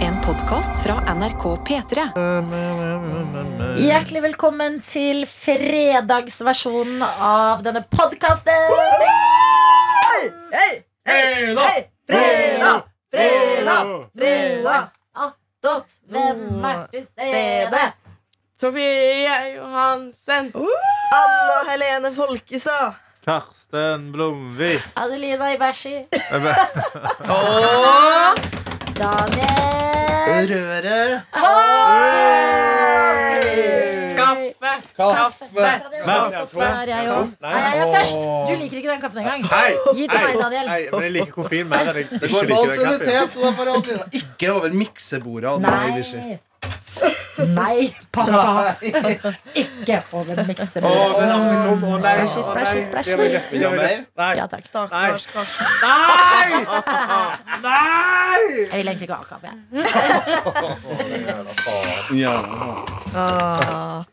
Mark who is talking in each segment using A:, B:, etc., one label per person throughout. A: En podkast fra NRK P3.
B: Hjertelig velkommen til fredagsversjonen av denne podkasten.
C: Fredag!
B: Fredag!
C: Fredag!
B: Fredag! Hvem er til stede?
C: Sofie Johansen.
D: Anna Helene Folkestad.
E: Karsten Blomvik.
B: Adelina Ibershi.
C: Og
B: Daniel.
F: Røret.
C: kaffe. Kaffe.
B: Fra det også, er jeg jo. Nei, jeg er først. Du liker ikke den kaffen engang.
E: Hei!
B: Gi til meg, Daniel.
E: Hei, men jeg liker koffein mer enn jeg
F: Det
E: ikke
F: går på
E: liker den kaffen.
F: ansiennitet, så da får jeg Adelina ikke over miksebordet. Adelina Ibishi.
B: Nei. Nei, pappa. Ikke over
E: Å,
B: miksebordet.
E: den har seg tom. Å nei.
B: Splashy,
E: å,
B: splashy,
E: nei.
B: splashy.
E: Det var rett, det var rett.
B: Ja, takk.
D: Stakkars Karsten.
E: Nei! Nei! Nei!
B: Jeg vil egentlig ikke ha kaffe. jeg.
F: Ja.
D: Ah.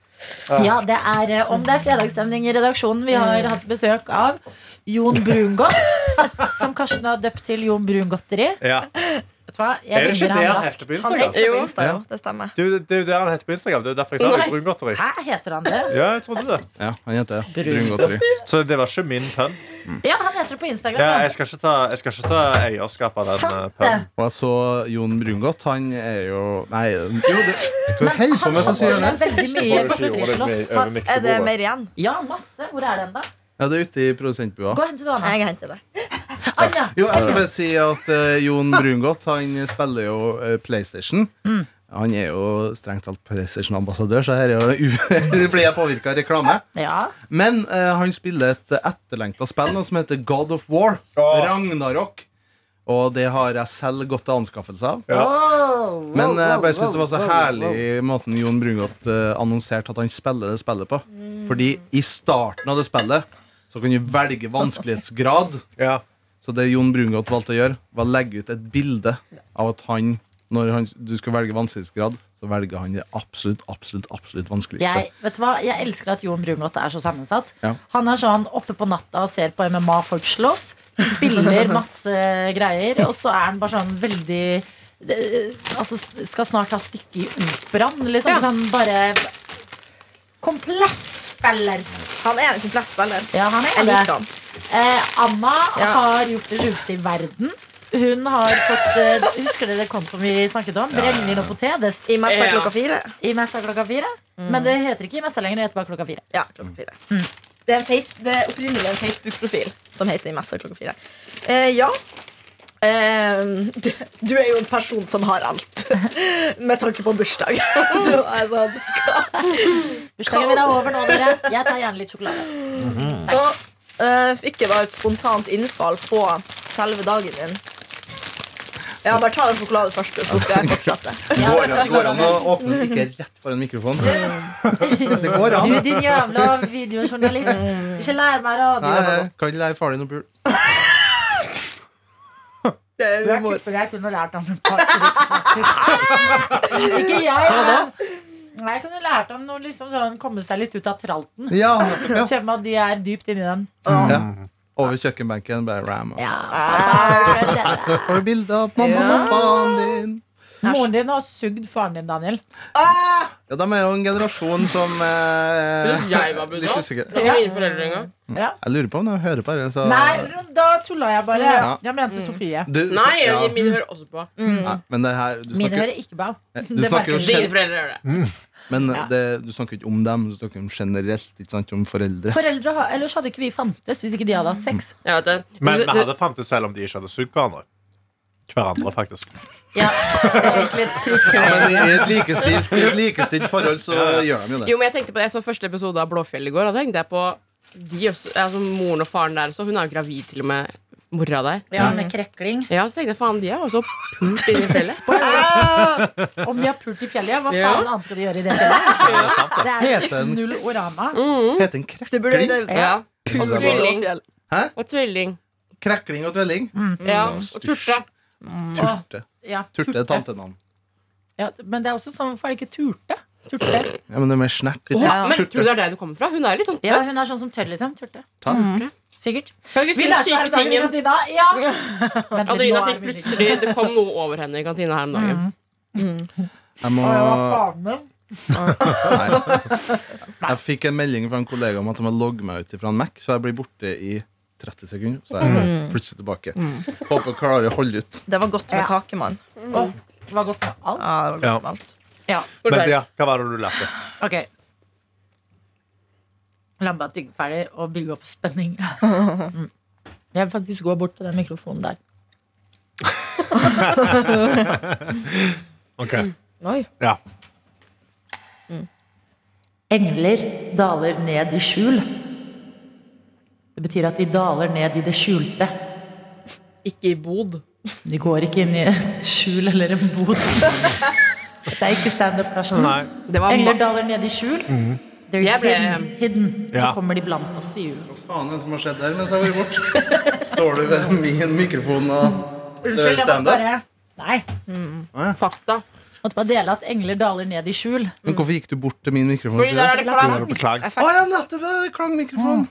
B: Ja, Mm. det er eh, om det er fredagsstemning i redaksjonen. Vi har hatt besøk av Jon Brungot, som Karsten har døpt til Jon Brungodteri.
E: Ja.
B: Vet du hva?
E: Er
B: Jeg
E: det ikke
B: ringer
E: det
B: ham
E: han
B: raskt.
E: heter på
D: Han heter
E: Instagram?
D: jo Insta, jo. Det stemmer.
E: Det er jo det- det er jo det han heter på Instagram. Det er derfor jeg sa det. Brungodteri.
B: Hæ, heter han det?
E: Ja, jeg trodde det.
F: ja, han heter det.
B: Brun.
F: Brungodteri.
E: Så det var ikke min pønn.
B: Ja, han heter det på Instagram.
E: Ja,
B: Mm. Ja,
E: jeg skal ikke ta, jeg skal ikke ta eierskap av den eh,
B: Sant det.
E: pønnen.
F: Og jeg så Jon Brungot. Han er jo Nei, jo, det Hva holder på med på siden
B: Det
F: her?
B: er veldig mye godteri til oss.
D: Ha- Er det mer igjen?
B: Ja, masse. Hvor er den, da?
F: Ja, det er ute i produsentbua.
B: Gå og hent du, Anna.
D: Jeg henter det.
B: Anja!
F: Jo, jeg skal bare si at eh, Jon Brungot Han spiller jo eh, PlayStation. Han er jo strengt talt PlayStation-ambassadør, så her er jo blir jeg påvirka av reklame.
B: Ja.
F: Men eh, han spiller et etterlengta spill nå som heter God of War.
E: Åh.
F: Ragnarok. Og det har jeg selv gått til anskaffelse av.
E: Ja.
B: Wow,
F: Men eh, jeg
B: wow,
F: bare synes det var så
B: wow, wow,
F: herlig
B: wow.
F: måten Jon Brungot eh, annonserte at han spiller det spillet på. Fordi i starten av det spillet så kan du velge vanskelighetsgrad.
E: Ja.
F: Så det Jon Brungot valgte å gjøre, var å legge ut et bilde av at han når han, du skal velge vanskelighetsgrad, så velger han det absolutt absolutt, absolutt vanskeligste.
B: Jeg, vet du hva? jeg elsker at Jon Brungot er så sammensatt.
F: Ja.
B: Han er sånn oppe på natta og ser på MMA folk slåss. Spiller masse greier. Og så er han bare sånn veldig eh, Altså skal snart ha stykke i operaen. Liksom. Sånn bare Komplett spiller.
D: Han er en komplett spiller.
B: Ja, han
D: Jeg
B: er det.
D: liker han.
B: Eh, Anna
D: Ja.
B: har gjort det sjukeste i verden. Hun har fått eh, Husker dere kontoen vi snakket om? Regner nå på TDs
D: I messa
C: Ja.
D: klokka fire.
B: i messa klokka fire. Men det heter ikke i messa lenger. Det heter bare klokka fire.
D: Ja, klokka fire. Mm. Det er, en face, det er opprinnelig en Facebook-profil som heter I messa klokka fire. Eh, ja. Eh, du, du er jo en person som har alt. Med tanke på bursdag. Så er jeg sånn,
B: Bursdagen min er over nå, dere. Jeg tar gjerne litt sjokolade.
D: Og eh, fikk jeg bare et spontant innfall på selve dagen din. Ja, bare ta en sjokolade først, og så skal jeg fortsette.
F: Det går, an- det går an å åpne den ikke rett foran mikrofonen. Det går
B: Du,
F: an.
B: din jævla videojournalist. Ikke lær meg
F: Nei,
B: radio.
F: jeg kan lære far din å pule.
D: Det er
B: Jeg
D: humor.
B: tipper jeg kunne lært om et par triks. Ikke jeg, men Nei, jeg kunne lært om noe liksom sånn komme seg litt ut av tralten.
F: Ja, nettopp, ja.
B: Kjenne at de er dypt inni den.
F: ja. Over kjøkkenbenken. Bare ram.
B: Ja.
D: Ah.
B: så er det det.
F: Får du bilde av mamma og pappaen din?
B: Moren din har sugd faren din, Daniel.
F: Ja, De er jo en generasjon som eh,
C: Jeg var buddha.
F: litt usikker.
C: Det var ingen foreldre engang.
F: Jeg lurer på om de hører på dette.
B: Nei, da tulla jeg bare.
F: Ja.
B: Jeg mente Sofie.
C: Nei, jeg- mine hører også på.
F: Nei, men det her, du
B: Mine
F: snakker, Eh,
B: hører ikke på.
F: du snakker jo
B: Det merker
C: Dine
F: gen-
C: foreldre gjør det.
F: men
B: Ja.
F: det, du snakker ikke om dem, du snakker om generelt, ikke sant, om foreldre.
B: Foreldre har, Ellers hadde ikke vi fantes hvis ikke de hadde hatt sex.
C: Jeg vet det.
E: Men
C: Du-
E: vi
C: du-
E: hadde fant det selv om de ikke hadde sugd hverandre. Hverandre, faktisk.
B: Ja, egentlig
F: Ja,
B: kriterier.
F: men i et likestilt, i et likestilt forhold så gjør de jo det.
C: Jo, men Jeg tenkte på det Jeg så første episode av Blåfjell i går. Og da tenkte jeg på de også, altså, moren og faren der også. Hun er jo gravid, til og med. Mora der.
B: Ja, med krekling.
C: Ja, så tenkte jeg faen, de er også pult inni fjellet.
B: Om de har pult i fjellet, ja, hva
C: Ja.
B: faen annet skal de gjøre i det fjellet?
E: Det er sant, det.
B: Det er liksom
F: Heter den-
B: null orama.
F: Heter den
D: Det burde
F: krekling?
D: hete
C: Ja. Og
F: Pizza bar.
C: tvilling.
D: Blåfjell.
C: Og tvilling.
F: Krekling og tvelling?
C: Ja,
F: Mm.
C: og turte.
F: Turte.
B: Ja,
F: Turte er tantenavn.
B: ja, men det er også sånn, hvorfor er det ikke turte? Turte.
F: Ja, men det er mer snert. Vi
C: Ja,
F: tar-
C: men tror du
F: turte.
C: det er der du kommer fra? Hun er litt sånn
B: Ja,
C: tøff.
B: hun er sånn som tør, liksom. Turte.
F: Ta.
C: Mm.
B: Sikkert.
C: Kan ikke si
B: Vi lærte
C: den
B: her
C: syke
B: i dag i
C: tingen.
B: kantina. Ja. Vent litt, nå
C: Adelina
B: er
C: fikk
B: vi litt-
C: plutselig Det kom noe over henne i kantina her om dagen.
F: Jeg må
B: faen min?
F: Nei. Jeg fikk en melding fra en kollega om at han må logge meg ut fra en Mac, så jeg blir borte i 30 sekunder. Så er jeg
C: Mm.
F: plutselig tilbake. Håper jeg klarer å holde ut.
D: Det var godt med
B: Ja.
D: kakemann.
B: Å, det var godt med alt.
D: Ja, det var godt
E: Ja.
D: med alt.
B: Ja,
C: Hvor
E: Men
C: er det?
E: ja, hva var det du lærte?
B: ok La meg bare tygge ferdig og bygge opp spenning. Mm. Jeg vil faktisk gå bort til den mikrofonen der.
E: Ok,
D: Oi.
E: ja
B: Engler daler ned i skjul. Det betyr at de daler ned i det skjulte.
C: Ikke i bod.
B: De går ikke inn i et skjul eller en bod. Det er ikke standup, Karsten.
E: Nei,
C: Det var
B: Engler
C: ma-
B: daler ned i skjul. They're
C: Jeg ble-
B: hidden, hidden. Så
E: Ja.
B: kommer de blant oss i jul.
F: faen er det som har skjedd her mens jeg har vært borte? Står du ved min mikrofon og
B: Unnskyld, jeg måtte
F: standup?
B: bare Nei.
C: fakta.
B: Måtte bare dele at engler daler ned i skjul.
F: Men hvorfor gikk du bort til min mikrofon?
C: Fordi der er det Mm. klang.
E: beklag
F: Å ja, nettopp! Det er klangmikrofon.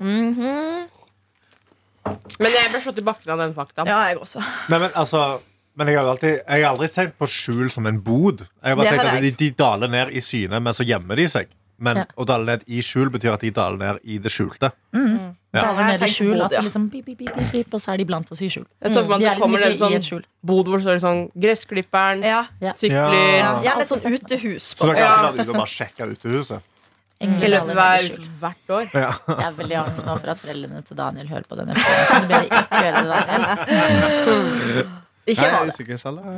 C: Men jeg ble slått i bakken av den faktaen.
D: Ja, jeg også.
E: Nei, men altså men jeg har, jo alltid, jeg har aldri tenkt på skjul som en bod. Jeg har
D: Det
E: bare tenkt
D: har
E: at de,
D: jeg.
E: de daler ned i syne, men så gjemmer de seg. Men
B: Ja.
E: å dale ned i skjul betyr at de daler ned i det skjulte. Ja.
B: Daler
D: Jeg
B: ned i
D: tenkte
B: skjul.
D: bod,
B: At
D: ja.
B: de liksom pip, pip, pip, pip, pip, og så er de blant oss i skjul.
C: Jeg så for
B: De
C: meg at
B: er
C: det
B: liksom
C: kommer en
B: ikke i et
C: sånn
B: skjul.
C: bod hvor det står sånn gressklipperen,
D: Ja.
C: sykler
E: Ja.
D: Jeg er litt sånn utehus.
E: Så
D: På.
E: dere
C: Ja.
E: har vært ute og bare sjekka utehuset?
B: Engler
C: I
B: daler
C: løpet
B: ned i
C: hver,
B: skjul.
C: hvert år.
B: Jeg er veldig angst nå for at foreldrene til Daniel hører på denne episoden. Så det blir ikke gjøre det, Daniel.
F: Nei,
D: Ikke
F: jeg
D: ha
F: er
D: det.
F: usikker selv. jeg.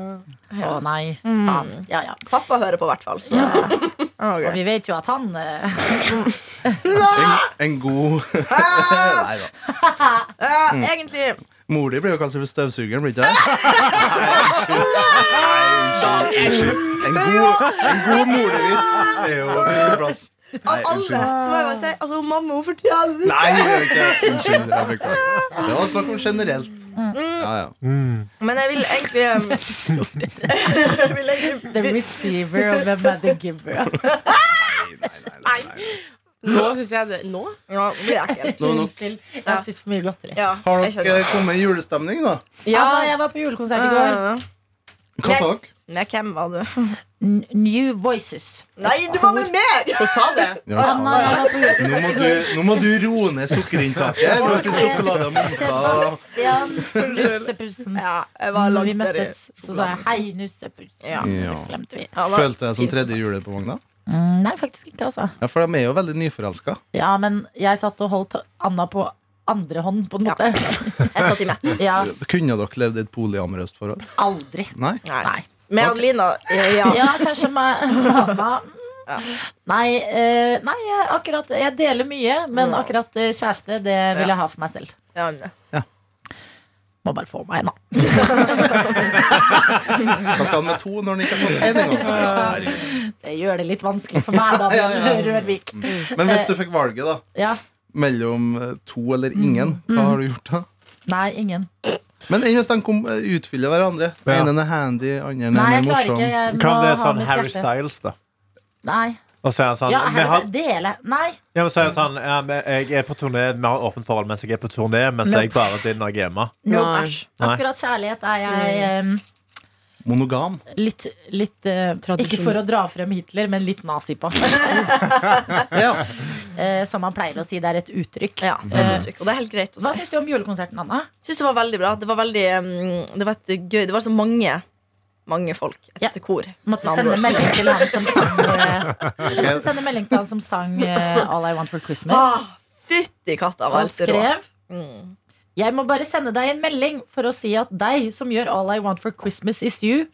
B: Å nei. Faen. Ja, ja.
D: Pappa hører på, i hvert fall. Så. Han er
B: Og
D: grei.
B: vi vet jo at han eh,
F: En, en god Nei da.
D: Ja,
F: Mm.
D: egentlig
F: Mor di blir jo kalt for støvsugeren, blir ikke det?
C: Ah!
F: En god, en god mordevits er jo på sin plass.
D: Av alle så
F: unnskyld.
D: må jeg bare si altså, mamma hun forteller
F: Nei, det er ikke Unnskyld. Jeg beklager. Det var snakk om generelt.
D: Mm.
F: Ja, ja.
D: Men jeg vil egentlig um, Jeg vil egentlig
B: The receiver, og hvem er the giver?
C: Nå syns jeg det Nå?
D: Nå blir jeg ekkelt.
F: Nå, nå.
B: Unnskyld. Jeg har spist for mye godteri.
D: Ja,
F: Har
D: jeg
F: dere
D: skjønner.
F: kommet i julestemning, da?
B: Ja, jeg var på julekonsert i går.
D: Ja.
F: Hva sa dere?
D: Med hvem var du?
B: N- New Voices.
D: Nei, du var med meg!
C: Hun sa det.
F: Ja, sa
B: Anna, jeg var på
F: det. nå, må du, nå må du roe ned sukkerinntaket. Jeg lå til sjokolade og mosa.
B: Sebastian Nussepussen.
D: Ja, jeg var
B: Når
D: langt
B: vi møttes, så sa jeg 'hei, Nussepussen'.
D: Ja.
B: Så
F: Ja.
B: glemte vi.
D: Ja, det var
F: Følte jeg som
D: fint.
F: tredje julet på vogna?
B: Mm, Nei, faktisk ikke, altså.
F: Ja, for de er jo veldig nyforelska.
B: Ja, men jeg satt og holdt Anna på andre hånd, på en
D: Ja.
B: måte.
D: Jeg satt i midten.
B: Ja,
F: Kunne dere levd i et polyamorøst forhold?
B: aldri.
F: Nei?
D: Nei.
B: Nei.
D: Med Adelina. Ja.
B: Ja, kanskje med Anna. Nei, eh, nei, jeg- akkurat Jeg deler mye, men akkurat eh, kjæreste, det vil jeg ha for meg selv.
D: Ja, men-
B: Må bare få meg en, da.
F: Hva skal han med to når han ikke har fått én engang? Herregud.
B: Det gjør det litt vanskelig for meg, Daniel Rørvik.
F: Men hvis du fikk valget da
B: Ja.
F: mellom eh, to eller ingen, hva har du gjort da?
B: Nei, ingen.
F: Men enn hvis de kom, eh, utfyller hverandre? Den
E: Ja.
F: ene er handy, den andre
B: Nei,
F: er
B: jeg klarer
F: mer morsom.
B: ikke. Jeg må
E: Kan det
B: ha
E: sånn
B: mitt
E: Harry
B: hjerte.
E: Styles, da?
B: Nei.
E: Og så er han sånn,
B: Ja,
E: vi
B: Harry
E: har,
B: Styles. Dele. Nei.
E: ja, men så er han sånn ja, men Jeg er på turné, vi har åpent forhold mens jeg er på turné, men så er jeg bare din når jeg er hjemme.
B: No,
C: Nei.
B: æsj.
E: Nei.
B: Akkurat kjærlighet er jeg em,
F: Monogam.
B: litt, litt eh, Ikke for å dra frem Hitler, men litt nazi på.
F: Ja.
B: Eh, som man pleier å si. Det er et uttrykk.
D: ja det er
F: Mm.
D: et uttrykk, og det er helt greit å
B: Hva
D: si.
B: syns du om julekonserten, Anna?
D: Syns det var veldig bra. Det var veldig um, Det var et gøy Det var så mange mange folk etter kor.
B: Måtte
D: Med andre
B: sende
D: ord.
B: melding til han som sang eh, jeg Måtte sende melding til han som sang eh, All I Want For Christmas.
D: Ah, Fytti katta, var Mm.
B: Og
D: helt rå.
B: skrev Jeg må bare sende deg en melding for å si at deg som gjør All I Want For Christmas Is You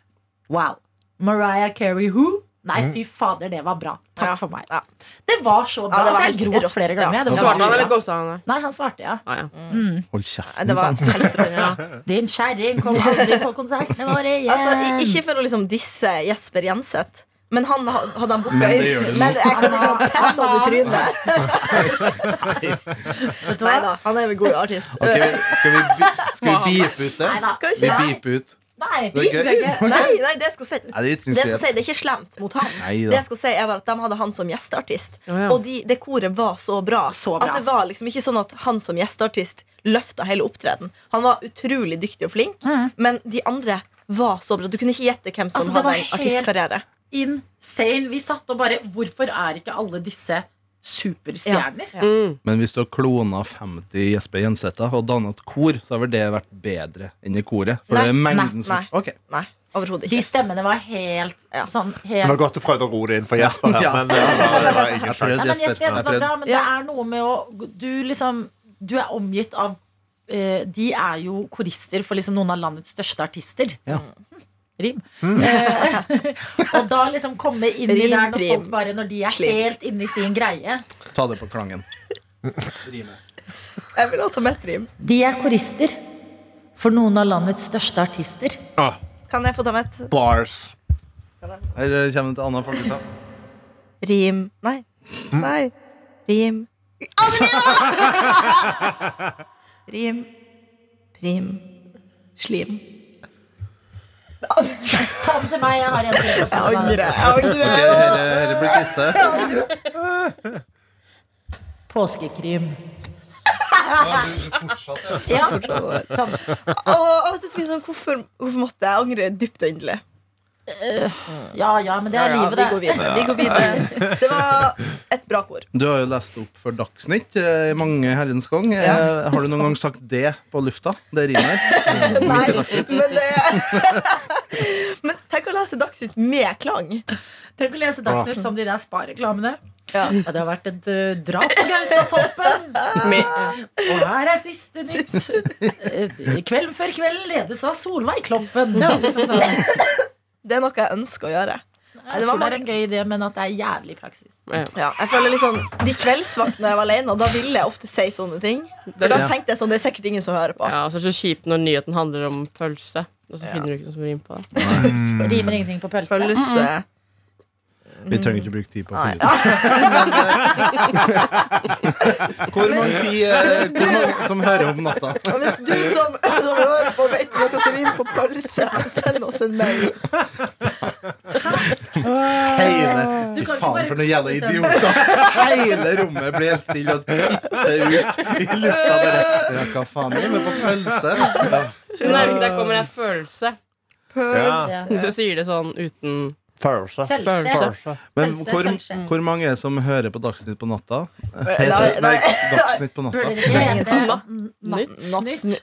B: Wow. Mariah Carey who? Nei, fy fader, det var bra. Takk
D: Ja.
B: for meg.
D: Ja.
B: Det var så bra.
D: Ja, det var
B: altså,
D: helt
B: jeg gråt
D: rått,
B: flere ganger.
D: ja.
B: Det var
C: Svarte han,
B: så
C: eller
B: bra.
C: ghosta han? det?
B: Nei, han svarte, ja.
C: Ah, ja.
F: Hold
D: Nei,
F: kjeften.
D: Det var
F: sant?
D: helt rått.
B: Din kjerring kom aldri på konsertene våre igjen.
D: Altså, i- ikke for å liksom disse Jesper Jenseth, men han ha- hadde han booka
F: Men det gjør det nå.
D: Men jeg kommer til å pisse han i trynet.
B: Vet du hva?
D: Nei da, han er en god artist.
F: Ok, skal vi, bi- skal vi beepe ut det?
B: Neida.
D: Skal vi
F: Vi
D: ikke
F: beeper ut.
B: Nei.
F: Det er gøy.
D: Nei, nei, det skal jeg si.
F: Nei,
D: Det, jeg skal si,
F: det er ytringsfrihet.
D: det er ikke slemt mot han.
F: Nei da.
D: Det jeg skal si er bare at De hadde han som gjesteartist.
C: Ja, ja.
D: Og de, det koret var så bra,
B: Så bra.
D: at det var liksom ikke sånn at han som gjesteartist løfta hele opptreden. Han var utrolig dyktig og flink, men de andre var så bra. Du kunne ikke gjette hvem som
B: Mm. Altså, det var
D: hadde en artistkarriere.
B: Insane. Vi satt og bare Hvorfor er ikke alle disse superstjerner?
D: Ja.
F: Men hvis du har klona 50 Jesper Jensetta og danna et kor, så har vel det vært bedre enn i koret? For
D: Nei,
F: det er mengden
D: nei,
F: som
D: nei.
F: Ok.
D: Nei, overhodet
B: De
D: ikke.
B: stemmene var helt
D: Ja.
B: sånn
E: Det
B: helt
E: var godt du prøvde å roe det inn for Jesper her,
F: Ja.
E: men eh, det var ingen
F: Jeg
E: sjanse.
B: Nei, men
F: tror det
B: Jesper, jeg synes det var
F: Fred.
B: bra, men det
D: Ja.
B: er noe med å Du liksom Du er omgitt av eh, De er jo korister for liksom noen av landets største artister.
F: Ja.
B: Rim. Eh, og da liksom komme inn i
D: Rim,
B: der når folk
D: prim,
B: bare Når de er
D: slim.
B: helt inne i sin greie.
F: Ta det på klangen.
D: Jeg vil også ha med et rim.
B: De er korister for noen av landets største artister.
E: Åh,
D: Kan jeg få ta med et
E: Ah, bars.
F: Her kommer et annet folkeslag.
D: rim? Nei. Nei. Rim. Aldri! rim. Prim. Slim.
B: Ta den til meg. Jeg har en til. å ta med.
F: Ok, Dette blir siste.
B: Påskekrim. Ja, sånn.
D: Åh, det er sånn, hvorfor, hvorfor måtte jeg angre dypt og inderlig?
B: ja, ja, men det er livet,
D: vi går
B: det.
D: videre. Vi går videre. Det var et bra kor.
F: Du har jo lest opp for Dagsnytt eh, i mange herrens gang. Eh, Har du noen gang sagt det på lufta? Det rimer.
D: Nei, men det Men tenk å lese Dagsnytt med klang.
B: Tenk å lese Dagsnytt som de der spareklamene.
D: Ja.
B: Ja, det har vært et eh, drap på Gaustatoppen.
C: Med,
B: Og her er siste nytt. Eh, Kvelden før kvelden ledes av Solveig Klompen. Ja. Liksom sånn.
D: Det er noe jeg ønsker å gjøre.
B: Jeg tror det er en gøy idé, men at det er jævlig praksis.
D: Ja, jeg føler litt sånn, De kveldsvaktene jeg var alene, da ville jeg ofte si sånne ting. For da
F: Ja.
D: tenkte jeg sånn, Det er sikkert ingen som hører på.
C: ja, og så er det så kjipt når nyheten handler om pølse, og så finner du ikke noe som rimer på det.
B: Rimer ingenting på pølse.
D: Pølse.
F: Vi trenger ikke bruke tid på å
D: Nei.
F: finne ut Hvor mange ti eh, hvor mange som hører om natta?
D: Og Hvis du som, som hører på, vet noe som rimer på pølse, send oss en mail.
F: Hele,
B: Ah. Du kan
F: fy
B: ikke
F: faen,
B: bare
F: for noen jævla
B: kaste den.
F: idioter. Hele rommet blir helt stille og titter ut i lufta. Bare, ja, hva faen er det med på pølse? Ja.
C: Men er det ikke der kommer en følelse.
E: Ja.
C: Så sier det sånn uten
E: Følelse.
B: Sølvskje.
F: Men
B: Pølse,
F: hvor,
B: sølvskje.
F: hvor mange er det som hører på Dagsnytt på natta?
D: Nei,
F: Heter, nei,
D: nei.
F: Dagsnytt på
B: Burde
F: natta.
B: det ikke hete
D: Natt-
B: Nattsnytt?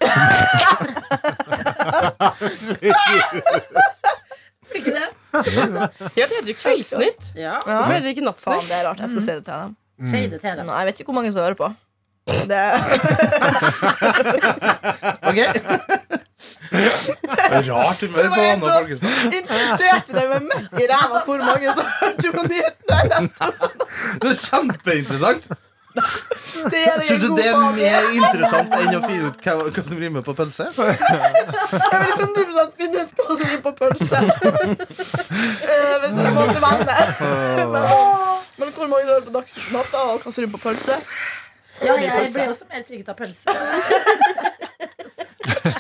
B: Burde ikke det?
C: Ja, det heter jo Kveldsnytt.
B: Ja.
C: Hvorfor
D: Ja.
C: heter det ikke
D: Faen,
C: Nattsnytt?
D: det er rart. Jeg skal si det til dem.
B: Shade til
D: Men
B: det.
D: jeg vet ikke hvor mange som hører på. Det
F: Ok Rart humør på Anne
B: sånn-
F: Folkestad.
D: interesserte deg med midt i ræva hvor mange som hørte på nyhetene. jeg leste.
F: Det er kjempeinteressant.
D: Det gjør jeg
F: Syns du
D: en
F: det
D: god
F: er
D: faen i.
F: mer interessant enn å finne ut hva, hva som rimer på pølse?
D: Jeg vil 100 finne ut hva som gir på pølse. Eh, Hvis jeg måtte velge. Men, åh, men hvor mange hører på Dagsnytt på natta, og hva som gir på pølse?
B: Ja, jeg ble også mer trygget av pølse.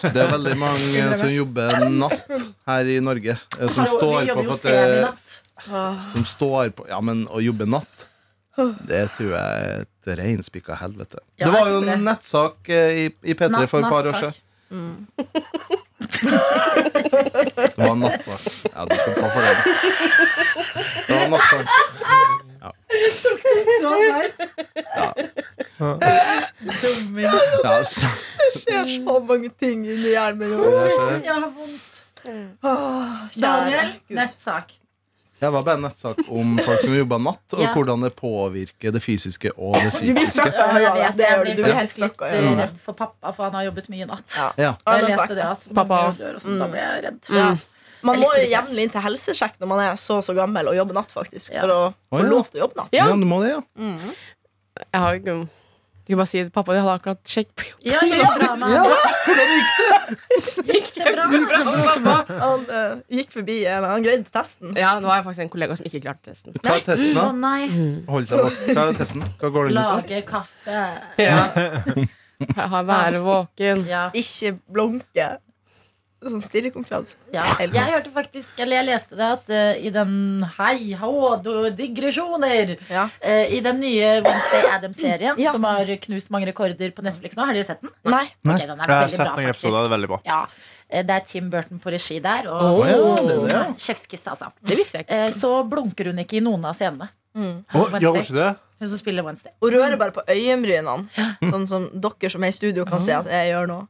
F: Det er veldig mange som jobber natt her i Norge. eh, Som
B: Hallo, vi
F: står på
B: jobber jo
F: for at
B: sen i
F: det,
B: natt.
F: som står på Ja, men å jobbe natt det tror jeg er et reinspikka helvete.
B: Ja,
F: det var jo
B: jeg tror
F: en nettsak eh, i, i P3
B: Natt-
F: for et par år
B: nattsak.
F: siden. Det var en nattsak. Ja, du skal få for det. Det var en nattsak.
B: Så seigt. Dummer.
F: Ja, så,
D: Det skjer så mange ting inni hjernen min.
B: Jeg har vondt.
D: Åh,
B: Daniel,
D: kjære Gud.
B: nettsak.
F: det var bare en nettsak om folk som jobber natt, og
B: Ja.
F: hvordan det påvirker det fysiske og det
D: Du blir
F: psykiske.
D: flakka,
B: Jeg
D: ja,
B: vet,
D: det
B: jeg
D: gjør du.
B: blir
D: Du blir helt
B: faktisk litt
D: flakka.
B: eh,
D: Ja.
B: redd for pappa, for han har jobbet mye i natt.
D: Ja.
F: Ja.
D: Ja,
B: Jeg
D: den
B: leste det
D: flakka.
B: at
C: Pappa.
B: mange dør, og sånn, da ble jeg redd.
D: Mm. Ja. Man må
B: Jeg
D: jo
B: likte det
D: jevnlig inn til helsesjekk når man er så så gammel og jobber natt, faktisk. For å
F: Å,
D: få
F: ja.
D: lov til å jobbe natt.
F: Ja, du må det, ja.
C: Jeg har jo ikke Du kan bare si det til pappa. Jeg hadde akkurat sjekk på jobb.
B: Ja, gikk det bra med han? Gikk det bra?
D: Han eh, gikk forbi, eller han greide testen.
C: Ja, det var faktisk en kollega som ikke klarte testen.
F: Hva er
B: Å
F: testen, da?
B: nei.
F: Hold seg bort. Hva er testen? Hva går den ut på?
B: Lage kaffe.
C: Ja. Han være våken.
B: Ja.
D: Ikke blunke. Sånn stirrekonkurranse.
B: Ja.
D: Eller-
B: Jeg hørte faktisk, eller jeg leste det, at eh, i den Hei, hå, du- digresjoner
D: Ja.
B: Eh, I den nye Wednesday Adams-serien
D: Ja.
B: som har knust mange rekorder på Netflix nå, har dere sett den?
D: Nei.
B: Ok, den er
E: Jeg har
B: veldig
E: sett
B: bra,
E: noen
B: faktisk.
E: episoder. Det er veldig bra.
B: Ja. Eh, Det er Tim Burton på regi der.
F: Å,
B: Og
F: ja, det er det, ja.
B: Chefskiss, altså.
C: Det visste jeg ikke.
B: Eh, Så blunker hun ikke i noen av scenene.
E: Å, Gjør hun ikke det?
B: Hun som spiller Wednesday.
D: Hun rører bare på øyenbrynene. Sånn som dere som er i studio, kan se at jeg gjør nå.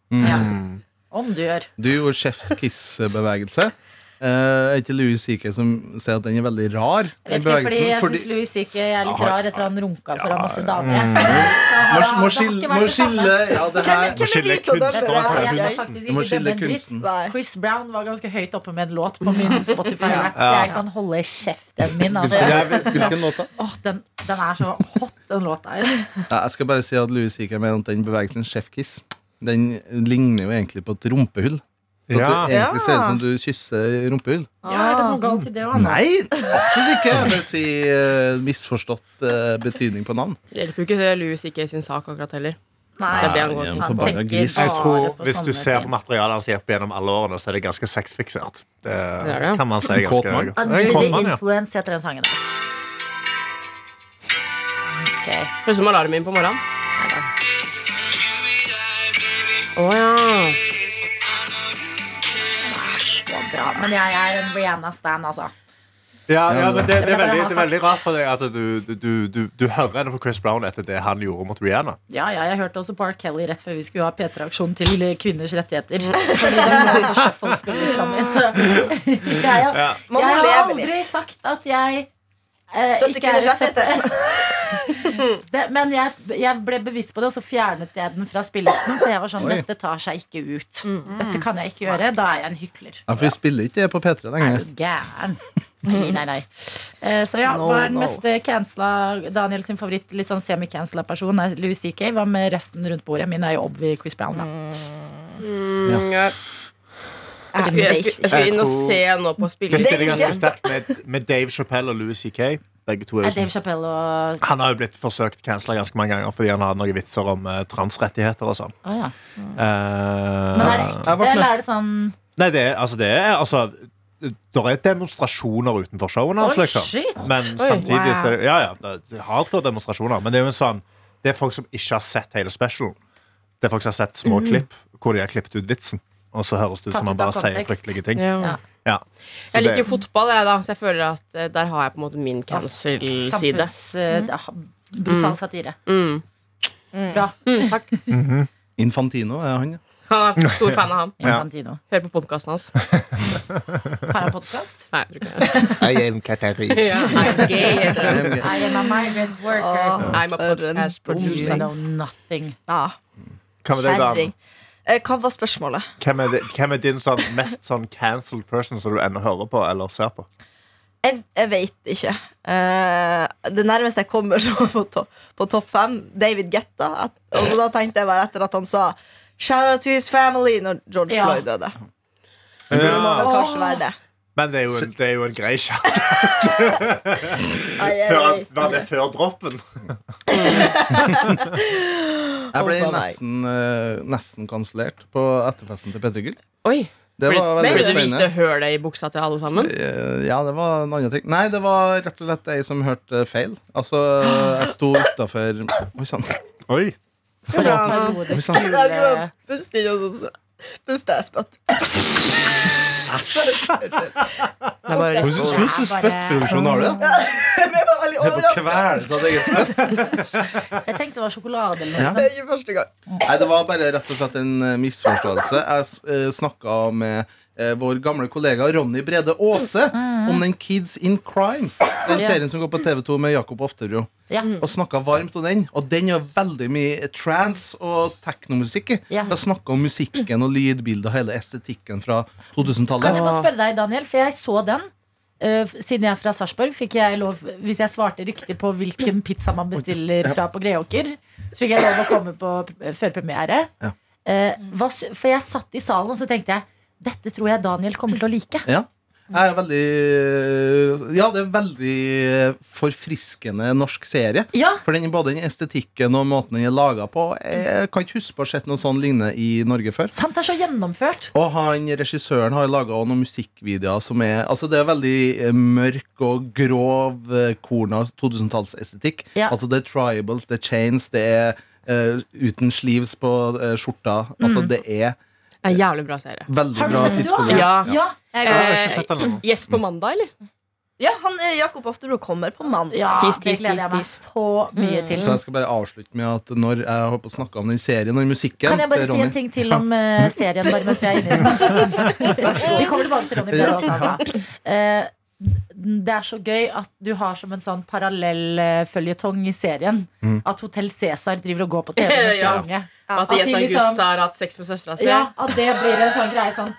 B: Om du gjør.
F: Du gjorde chefs kiss-bevegelse. Eh, Er ikke Louis C.K. som sier at den er veldig rar?
B: Jeg vet ikke, fordi jeg
F: Fordi- Ah,
B: syns Louis ikke er litt
F: Ja, Mm.
B: rar etter han runka foran masse damer.
F: Må,
B: Så
F: må,
B: det har
F: skille,
B: ikke vært
F: må
B: det samme.
F: skille Ja,
D: Hvem
F: det her
D: er vi
E: skille
D: til å dømme
E: kunsten
D: det?
E: fra
B: Jeg skal
D: Jeg-
B: faktisk
F: Du må
B: ikke
F: skille
B: dømme en dritt.
F: kunsten.
D: Nei.
B: Chris Brown var ganske høyt oppe med en låt på min spotify så jeg kan holde kjeften min. Altså.
F: Jeg vet- Hvilken låt, da?
B: Åh, den, den er så hot, den låta her.
F: Ja, Jeg skal bare si at Louis C.K. mener at den bevegelsen chefkiss Den ligner jo egentlig på et rumpehull. Så at du
E: Ja.
F: egentlig ser ut som du kysser rumpehull.
B: Ja, er det noe galt i det òg?
F: Nei, absolutt ikke! Jeg vil si eh, misforstått eh, betydning på navn.
C: Det hjelper jo ikke Louis ikke sin sak akkurat heller.
B: Nei,
C: Det er det han går
F: Nei,
C: til.
F: jeg er forbanna
B: tenker
F: gris.
B: bare
E: Jeg tror
B: på
E: Hvis du
B: sånne
E: ser på
B: ting.
E: materialet hans opp gjennom alle årene, så er det ganske sexfiksert. Det
C: er det.
E: kan man si ganske
F: Kåt mann.
E: godt.
B: Under
E: En kåt
B: the
E: mann, ja.
B: Influence heter den sangen der. Ok,
C: Høres ut som alarmen min på morgenen.
B: her da.
C: Å ja.
B: Så bra. Men jeg er en Rihanna-stan, altså.
E: Ja, ja, men det, det, er
B: bare
E: veldig,
B: ha
E: det er veldig
B: sagt.
E: rart for deg at du, du, du, du hører henne på Chris Brown etter det han gjorde mot Rihanna.
B: Ja, ja, jeg hørte også Park Kelly rett før vi skulle ha P3-aksjon til eh, kvinners rettigheter. Fordi den lå på shuffle-spillelista mi. Så jeg, har-
E: Ja.
B: jeg
D: Man må
B: har
D: leve
B: aldri
D: litt.
B: sagt at jeg eh,
D: Støtte
B: ikke er
D: kvinners
B: et-
D: rettigheter.
B: det, Men jeg, jeg ble bevisst på det, og så fjernet jeg den fra spillelisten. Så jeg var sånn
F: Oi.
B: Dette tar seg ikke ut.
C: Mm.
B: Dette kan jeg ikke gjøre. Da er jeg en hykler.
F: Ja, for vi spiller ikke det på P3
B: Er
F: lenger.
B: du gæren? Nei, nei, nei. Eh, Så ja,
D: No,
B: hva er den
D: no.
B: meste cancela Daniel sin favoritt litt sånn semi-cancela person er Louis CK. Hva med resten rundt bordet? Min er jo Obvi Chris Brown, da.
C: Mm, ja.
D: Jeg
C: Jeg
D: vet
C: skulle- jeg
D: ikke.
C: skulle inn og
E: Jeg tror-
C: se nå på
E: Det
C: spillet.
E: stiller ganske sterkt med, med Dave Chappelle og Louis C.K. Begge to er
B: Er
E: jo sånn-
B: Dave Chappelle og
E: Han har jo blitt forsøkt cancela ganske mange ganger fordi han har noen vitser om eh, transrettigheter og sånn.
B: Å ja.
E: Eh,
B: Mm. Men er det
F: Jeg
B: ekte,
F: ble
B: eller
F: mest-
B: er det sånn
E: Nei, det er altså, det er, altså det er demonstrasjoner utenfor showene hans,
B: Oi,
E: liksom.
B: shit.
E: Men
C: Oi.
E: samtidig så er det Ja, ja, det er hardcore demonstrasjoner. Men det er jo en sånn Det er folk som ikke har sett hele specialen. Det er folk som har sett små klipp hvor de har klippet ut vitsen. Og så høres det ut
B: Mm. Tatt
E: som han
B: ut
E: bare
B: av
E: sier
B: kontekst.
E: fryktelige ting.
B: Ja.
C: Ja.
E: Ja. Så
C: Jeg
E: det-
C: liker fotball, jeg, da, så jeg føler at eh, der har jeg på en måte min cancel-side.
B: samfunns... eh, det er brutal satire.
C: Mm.
B: Bra.
C: Mm, takk.
F: Infantino er han.
C: Han er stor fan av ham.
E: Ja.
B: Infantino.
C: Hører på podkasten hans.
B: Har han podkast?
C: Nei, jeg tror ikke
E: I am Katari.
C: det. Ja, I'm gay, heter det.
B: I am a migrant worker.
C: I'm a podcast
B: You
C: producer.
B: know nothing.
D: Ja,
E: Hvem er, det, Dan?
D: kjerring. Eh, Hva var spørsmålet?
E: hvem, er det, hvem er din sånn, mest sånn cancelled person som du ennå hører på eller ser på?
D: Jeg, jeg veit ikke. Eh, det nærmeste jeg kommer så på, to, på topp fem, David Getta. At, og da tenkte jeg bare etter at han sa Shout out to his family når George
B: Ja.
D: Floyd døde. Det må
E: Ja.
D: vel kanskje være det.
E: Men det er jo en, det er jo en grei chat.
D: Ai, ai,
E: Før-
D: ai.
E: Var det før droppen?
F: Jeg ble
D: Å, nei.
F: nesten, eh, nesten kansellert på etterfesten til P3 Gull.
C: Oi.
F: Det var
C: Fordi
F: veldig
C: du viste
F: spennende.
C: hølet i buksa til alle sammen?
F: Eh, Ja, det var en annen ting. Nei, det var rett og slett ei som hørte feil. Altså, jeg sto utafor Oi sann.
E: Oi.
B: For et parodisk
F: sant.
D: Nei, det
B: jule...
D: var Pust inn, og så Pust jeg spøtt.
C: Det er bare
B: Hvordan- hvordan slags spyttproduksjon
F: har du?
D: Jeg var veldig overrasket.
B: Jeg tenkte det var sjokolade eller noe
F: Ja.
B: sånt.
D: Det er ikke første gang.
F: Nei, det var bare rett og slett en eh, misforståelse. Jeg uh, snakka med eh, vår gamle kollega Ronny Brede Aase
D: Mm.
F: om den Kids in Crimes. Den
B: Ja.
F: serien som går på TV2 med Jakob Oftebro.
B: Ja.
F: Og snakka varmt om den. Og den er veldig mye trans og teknomusikk. i.
B: Ja.
F: Jeg snakka om musikken og lydbildet og hele estetikken fra
B: Kan
F: 2000-tallet.
B: jeg bare spørre deg, Daniel, for jeg så den. Eh, f- siden jeg er fra Sarpsborg, fikk jeg lov Hvis jeg svarte riktig på hvilken pizza man bestiller fra på Greåker, så fikk jeg lov å komme på p- før premiere.
F: Ja.
B: Eh, hva, s- for jeg satt i salen, og så tenkte jeg dette tror jeg Daniel kommer til å like.
F: Ja. Jeg er veldig Ja, det er veldig forfriskende norsk serie.
B: Ja,
F: For den, både den estetikken og måten den er laga på Jeg kan ikke huske på å ha sett noe sånn lignende i Norge før.
B: sant? Det er så gjennomført.
F: Og han, regissøren har laga noen musikkvideoer som er Altså Det er veldig eh, mørk og grov eh, korn av 2000-tallsestetikk.
B: Ja.
F: Altså Det er tribals, det er chains, det er eh, uten sleeves på eh, skjorta. Altså Det er
C: Det er en jævlig bra serie.
B: Mm.
F: Veldig
B: Har du
F: bra
B: sett den, du også?
F: tidsperiode.
C: Ja.
B: Ja,
E: Jeg
D: Jeg går.
E: har ikke sett den ennå.
C: Gjest på mandag, eller?
D: Ja, han, eh, Jakob Oftebro kommer på mandag.
B: ja
C: Tis,
B: det
C: tis,
B: gleder jeg meg
C: tis, Mm.
B: så mye til.
F: Så jeg skal bare avslutte med at når jeg har snakka om den serien og musikken
B: Kan jeg bare
F: til
B: si
F: Ronny-
B: en ting til om eh, serien, bare mens vi er inne i den? Vi kommer tilbake til Ronny Brede også, altså. Eh, det er så gøy at du har som en sånn parallell eh, føljetong i serien
F: Mm.
B: at Hotell Cæsar driver og går på TV neste
C: Ja.
B: gange.
D: Ja,
C: At Jens
B: de liksom-
C: August har hatt sex med søstera si?
B: Ja, at det blir en sånn greie sånn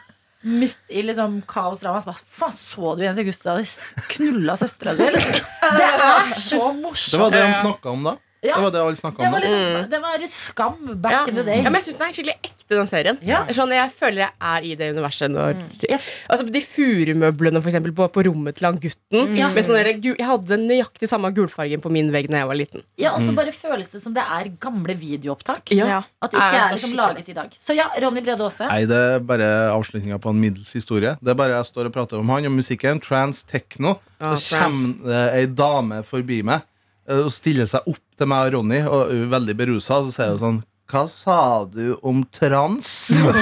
B: Midt i liksom kaosdramaet. så bare, Faen, så du Jens August hadde s- knulla søstera si? eller? Det er så
F: Det var
B: morsomt!
F: det han snakka om da.
B: Ja.
F: Det var det alle snakket
B: Det
F: om
B: var
F: da.
B: liksom det var skam back
C: Ja.
B: in the
C: Ja,
B: day.
C: men jeg syns den er skikkelig ekte, den serien.
B: Ja.
C: Sånn, jeg føler jeg er i det universet når Altså De furumøblene for eksempel, på, på rommet til han gutten. Med sånne, der gu- jeg hadde nøyaktig samme gulfargen på min vegg da jeg var liten.
B: Ja, Og så
F: Mm.
B: bare føles det som det er gamle videoopptak.
D: Ja.
B: At det ikke
C: Er
B: er liksom
C: skikkelig.
B: laget i dag. Så ja, Ronny Brede Aase.
F: Nei, det er bare avslutninga på en middels historie. Det er bare jeg står og prater om han og musikken. Trans techno.
C: Ja,
F: så
C: trans.
F: kommer det ei dame forbi meg eh, og stiller seg opp til meg og Ronny, og hun er veldig berusa, og så sier hun sånn Hva sa du om trans? og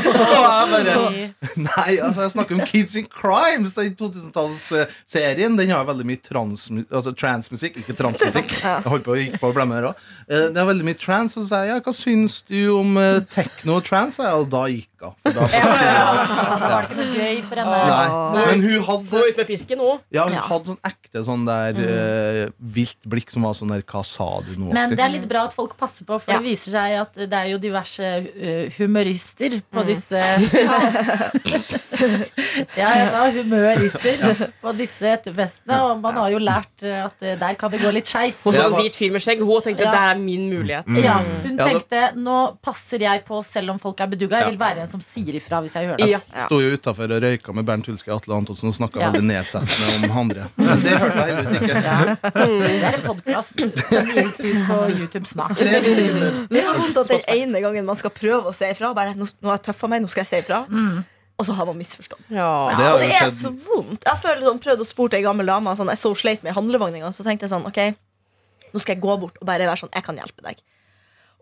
F: jeg bare Nei, altså jeg snakker om Kids in Crimes. Den 2000-tallsserien Den har veldig mye transmu- altså, transmusikk. Ikke transmusikk. Jeg holdt på, gikk på å blemme der også. Eh, Det er veldig mye trans. Og så sier jeg ja, hva syns du om eh, techno og trans? Og, jeg, og da gikk hun. For da forstod jeg
B: Var
F: alt.
B: det ikke noe gøy for henne?
F: Nei, Men hun
C: Gå
F: hadde
C: ut med pisken nå.
F: ja, hun
D: Ja.
F: hadde sånn ekte sånn der eh, vilt blikk som var sånn der Hva sa du nå?
B: Men det er litt bra at folk passer på, for
D: Ja.
B: det viser seg at det er jo diverse uh, humorister på disse Ja, jeg sa humørister på disse etterfestene, og man har jo lært uh, at uh, der kan det gå litt skeis.
C: Hos
F: Jeg
C: en
F: var- Mm.
C: hvit fyr med skjegg. Hun tenkte
B: Ja.
C: det her er min mulighet.
B: Ja, hun
F: Ja, det-
B: tenkte nå passer jeg på selv om folk er bedugga. Jeg vil være en som sier ifra hvis jeg hører det.
C: Ja.
D: Ja.
F: Sto jo utafor og røyka med Bernt Hulske og Atle Antonsen og snakka
B: Ja.
F: veldig nedsettende om andre. Men det hørte jeg heldigvis ikke.
B: Det er en podkast som gis ut på YouTube snart.
F: Tre
D: Men
F: minutter.
D: det er vondt at den ene gangen man skal prøve å si ifra, bare nå, nå har jeg tøffa meg, nå skal jeg si ifra, og så har man misforstått.
C: Ja.
F: Det har
D: og det
F: jo
D: er
F: skjedd.
D: så vondt. Jeg føler sånn, prøvde å spore ei gammel dame. og Sånn, jeg så hun sleit med handlevogn en gang, så tenkte jeg sånn OK, nå skal jeg gå bort og bare være sånn Jeg kan hjelpe deg.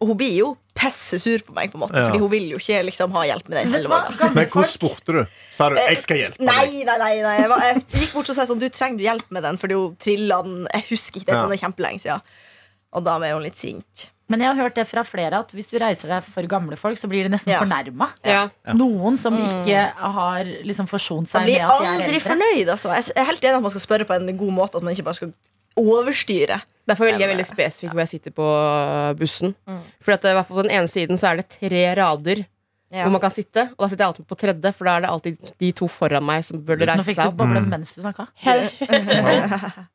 D: Og hun blir jo pessesur på meg, på en måte,
E: Ja.
D: fordi hun vil jo ikke liksom ha hjelp med den
B: Vet du hva?
D: handlevogna.
B: Gamle
E: Men hvor
B: folk
E: spurte du? Sa du 'jeg skal
D: Eh,
E: hjelpe deg'?
D: Nei, nei, nei, nei. Jeg, var, jeg gikk bort og sa sånn Du trenger du hjelp med den, fordi hun trilla den. Jeg husker ikke det,
E: Ja.
D: den er kjempelenge siden. Og da ble hun litt sint.
B: Men jeg har hørt det fra flere at hvis du reiser deg for gamle folk, så blir de nesten
D: Ja. Mm.
B: fornærma.
C: Ja.
B: Noen som ikke har liksom forsont
D: Man
B: seg med
D: blir
B: at de er
D: aldri
B: eldre.
D: fornøyd, altså. Jeg er helt enig at man skal spørre på en god måte, at man ikke bare skal overstyre.
C: Derfor velger jeg
D: Men,
C: veldig spesifikt hvor jeg sitter på bussen.
D: Mm.
C: For at, eh, i hvert fall på den ene siden så er det tre rader
D: Ja.
C: hvor man kan sitte. Og da sitter jeg alltid på tredje, for da er det alltid de to foran meg som burde
B: Nå
C: reise
B: fikk du
C: seg opp.
B: boble mens du snakka. Det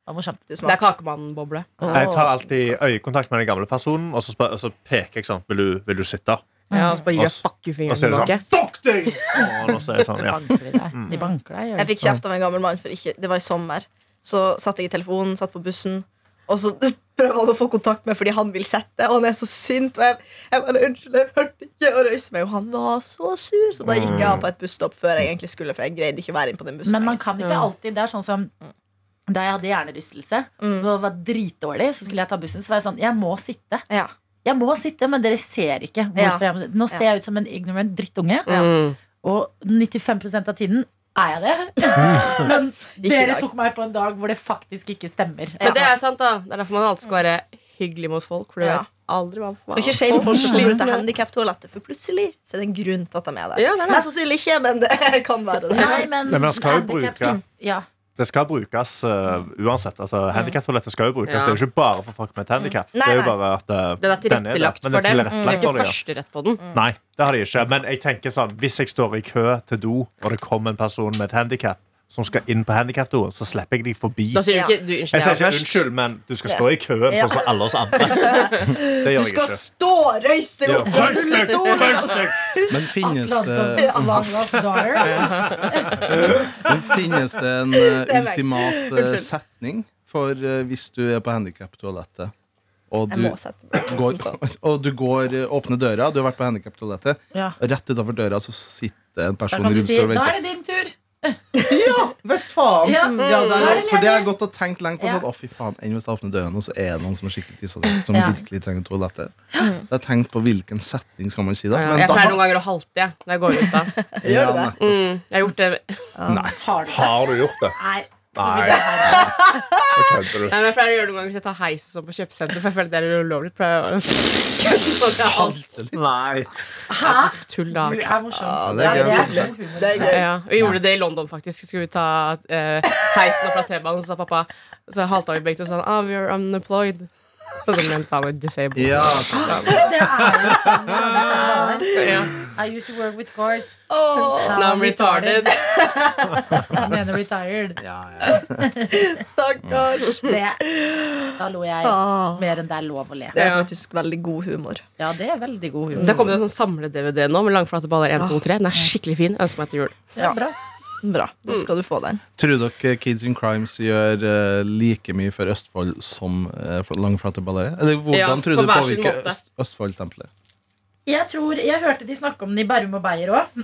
B: var morsomt.
D: Du
C: Det er
D: smak.
C: Kakemannen-boble.
E: Jeg tar alltid øyekontakt med den gamle personen, og så, spør, og så peker jeg sånn 'Vil du, vil du sitte?'
D: Mm.
C: Ja, og så bare gir
E: Og
C: jeg
E: s-
C: fuck you-fingeren
E: Og så er det
C: tilbake.
E: sånn 'Fuck deg!' Og nå sier jeg sånn, ja.
B: Banker de deg. De banker deg. gjør
D: Jeg
B: de.
D: fikk kjeft av en gammel mann, for ikke, det var i sommer. Så satt jeg i telefonen, satt på bussen, og så prøver han å få kontakt med fordi han vil sette, og han er så sint. Og jeg, jeg bare unnskyld, jeg hørte ikke å røyse meg. Og han var så sur, så da gikk jeg av på et busstopp før jeg egentlig skulle, for jeg greide ikke å være inne på den bussen.
B: Men man kan ikke alltid. Det er sånn som
D: Mm.
B: da jeg hadde hjernerystelse og var dritdårlig, så skulle jeg ta bussen. Så var jeg sånn Jeg må sitte.
D: ja.
B: Jeg må sitte, men dere ser ikke.
D: Ja.
B: Hvorfor jeg må, nå ser jeg ut som en ignorant drittunge,
D: Ja.
C: Mm.
B: og 95 av tiden er jeg det. Men
D: i
B: dere
D: dag.
B: tok meg på en dag hvor det faktisk ikke stemmer. Altså,
C: Men det er sant, da. Det er derfor man alltid skal være hyggelig mot folk. For du
D: Ja.
C: vet aldri hva
D: Og ikke shame folk som kommer ut av handikaptoalettet, for plutselig så er det en grunn til at de er der.
C: Ja, det er det.
D: Mest sannsynlig ikke, men det kan være det.
B: Nei, men,
E: Nei, men han skal jo
B: handicaps-
E: bruke-
B: Ja.
E: Det skal brukes eh, uansett. Altså, Handikaptoalettet skal jo brukes.
C: Ja.
E: Det er jo ikke bare for folk med et handikap.
D: Nei,
E: Det er jo
D: nei.
E: bare at eh,
C: Den er
E: der,
C: tilrettelagt
E: men
C: for
E: det er
C: dem. Det Mm. er
E: tilrettelagt
C: ikke
E: for dem, ja.
C: førsterett på den.
E: Mm. Nei, det har de ikke. Men jeg tenker sånn, hvis jeg står i kø til do, og det kommer en person med et handikap som skal inn på handikapdoen, så slipper jeg de forbi.
C: Da sier du
D: Ja.
C: ikke du,
E: Jeg
C: unnskyld,
E: sier
C: jeg
E: ikke
C: var først.
E: unnskyld, men du skal stå i køen sånn som alle oss andre. Det
D: Du
E: gjør jeg
D: skal
E: ikke.
D: stå, røys deg
E: Ja.
D: opp på rullestolen!
F: Men finnes det,
B: Atlantis long lost daughter.
F: men finnes det en eh,
D: er leit.
F: ultimat eh, setning for eh, hvis du er på handikaptoalettet, og
D: Jeg
F: du
D: må sette meg.
F: går, og du går eh, åpner døra, du har vært på handikaptoalettet,
B: Ja.
F: og rett utenfor døra så sitter en
B: Da
F: person i
B: kan du si
F: rullestol og
B: 'da
F: venter.
B: er det din tur'.
F: Ja! Hvis faen!
B: Ja.
F: Ja, det er,
B: Mm.
F: for det har jeg gått og tenkt lenge på.
B: Ja.
F: Sånn, å fy faen, Enn hvis jeg åpner dørene, og så er det noen som er skikkelig tissa seg ut, som
B: Ja.
F: virkelig trenger toalettet. Jeg har tenkt på hvilken setting skal man si det.
C: Jeg pleier noen ganger å halte jeg, når jeg går ut. da
D: Gjør du det?
F: nettopp.
C: mm, Jeg har gjort det Nei,
B: Har du det?
E: Har du gjort det?
B: Nei.
E: Nei. Nå kødder du.
C: men Jeg pleier å gjøre det noen ganger hvis jeg tar heis og sånn på kjøpesenter, for jeg føler det er ulovlig. Pleier jeg å Sånn, jeg halte litt.
E: Nei.
B: Hæ?
C: Tull, da.
B: Du er morsom.
F: det er
B: Ja,
F: gøy.
B: god humor.
D: Det er gøy.
C: Ja, vi gjorde det i London, faktisk. Skulle vi ta eh, heisen opp fra T-banen, så sa pappa Så halta vi begge to sånn Ah, we are unemployed. Så det mentally disabled.
F: Ja,
B: Det er jo sånn. ja, det er sånn det er. I used to work with cars.
D: Åh,
C: Now I'm retarded.
B: Jeg mener retired.
D: stakkars.
B: Det. Da lo jeg
D: Åh,
B: mer enn det er lov å le.
D: Det er
C: Ja.
D: faktisk veldig god humor.
B: Ja, det er veldig god humor.
C: Det har kommet en sånn samle-DVD nå med langflate baller 1, 2, 3. Den er skikkelig fin. Ønsker meg til jul.
B: Ja, bra.
D: Bra, da skal du få den.
F: Tror dere Kids in Crimes gjør eh, like mye for Østfold som eh, for langflate ballere? Eller hvordan
C: Ja,
F: tror
C: på
F: du det
C: hver sin
F: påvirker
C: måte.
F: Øst Østfold-tempelet?
B: Jeg tror, jeg hørte de snakke om den i Bærum og Beyer òg,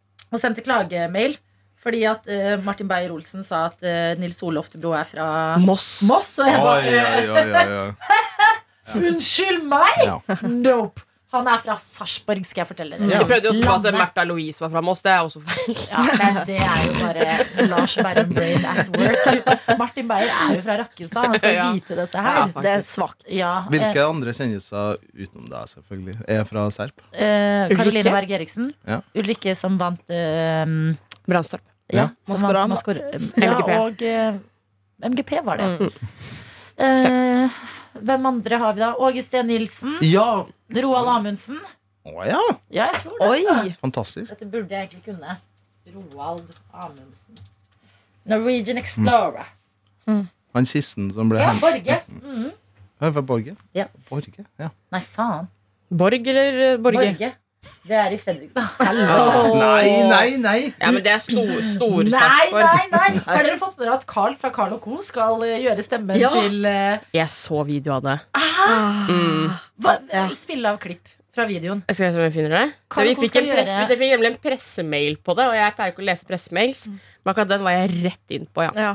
B: og sendte klagemail. Fordi at eh, Martin Beyer-Olsen sa at eh, Nils Ole Oftebro er fra
C: Moss.
B: Moss. Og jeg
F: Oi,
B: bare eh,
F: oi, oi, oi, oi.
B: Unnskyld meg!
F: Ja.
B: Nope. Han er fra Sarpsborg, skal jeg fortelle dere.
C: Vi prøvde jo også på at
B: Landet.
C: Märtha Louise var fra Moss. Det er også feil.
B: Ja, men det er jo bare Lars Berrum Brain at work. Martin Beyer er jo fra Rakkestad. Han skal
C: Ja.
B: vite dette
C: Ja,
B: her.
C: faktisk.
D: Det er svakt.
B: Ja,
F: Hvilke andre kjendiser utenom deg selvfølgelig er fra Serp?
B: eh, Karoline
C: Ulrikke?
B: Berg Eriksen.
F: Ja.
B: Ulrikke som vant eh,
C: Brandstorp.
B: Ja,
F: Ja.
B: som vant
D: Maskorama.
B: Maskor- eh, Ja,
C: MGP.
B: og eh, MGP var det. Eh, hvem andre har vi da? Åge Steen Nilsen.
F: Ja!
B: Roald Amundsen.
F: Å ja!
B: Ja, jeg tror det.
D: Oi!
B: altså.
F: Fantastisk.
B: Dette burde jeg egentlig kunne. Roald Amundsen. Norwegian Explorer.
F: Han kisten som ble
B: Ja,
F: hentet
B: Borge. Mhm.
F: Han er fra Borge?
B: Ja.
F: Borge, ja.
B: Nei, faen.
C: Borg eller eh, Borge?
B: Borge. Det er i Fredrikstad.
F: Nei, nei, nei!
C: Ja, men det er sto, store
B: Nei,
C: Sarpsborg.
B: nei, nei! Har dere fått med dere at Carl fra Carl Co. skal eh, gjøre stemmen
D: Ja.
B: til eh,
C: Jeg så video av det.
B: hva, Spille av klipp fra videoen.
C: Jeg skal se om jeg finner det.
B: Kan
C: vi
B: dere
C: fikk,
B: skal
C: en press,
B: gjøre-
C: vi fikk nemlig en pressemail på det, og jeg pleier ikke å lese pressemails.
B: Mm.
C: Men akkurat den var jeg rett inn på, ja.
D: Ja.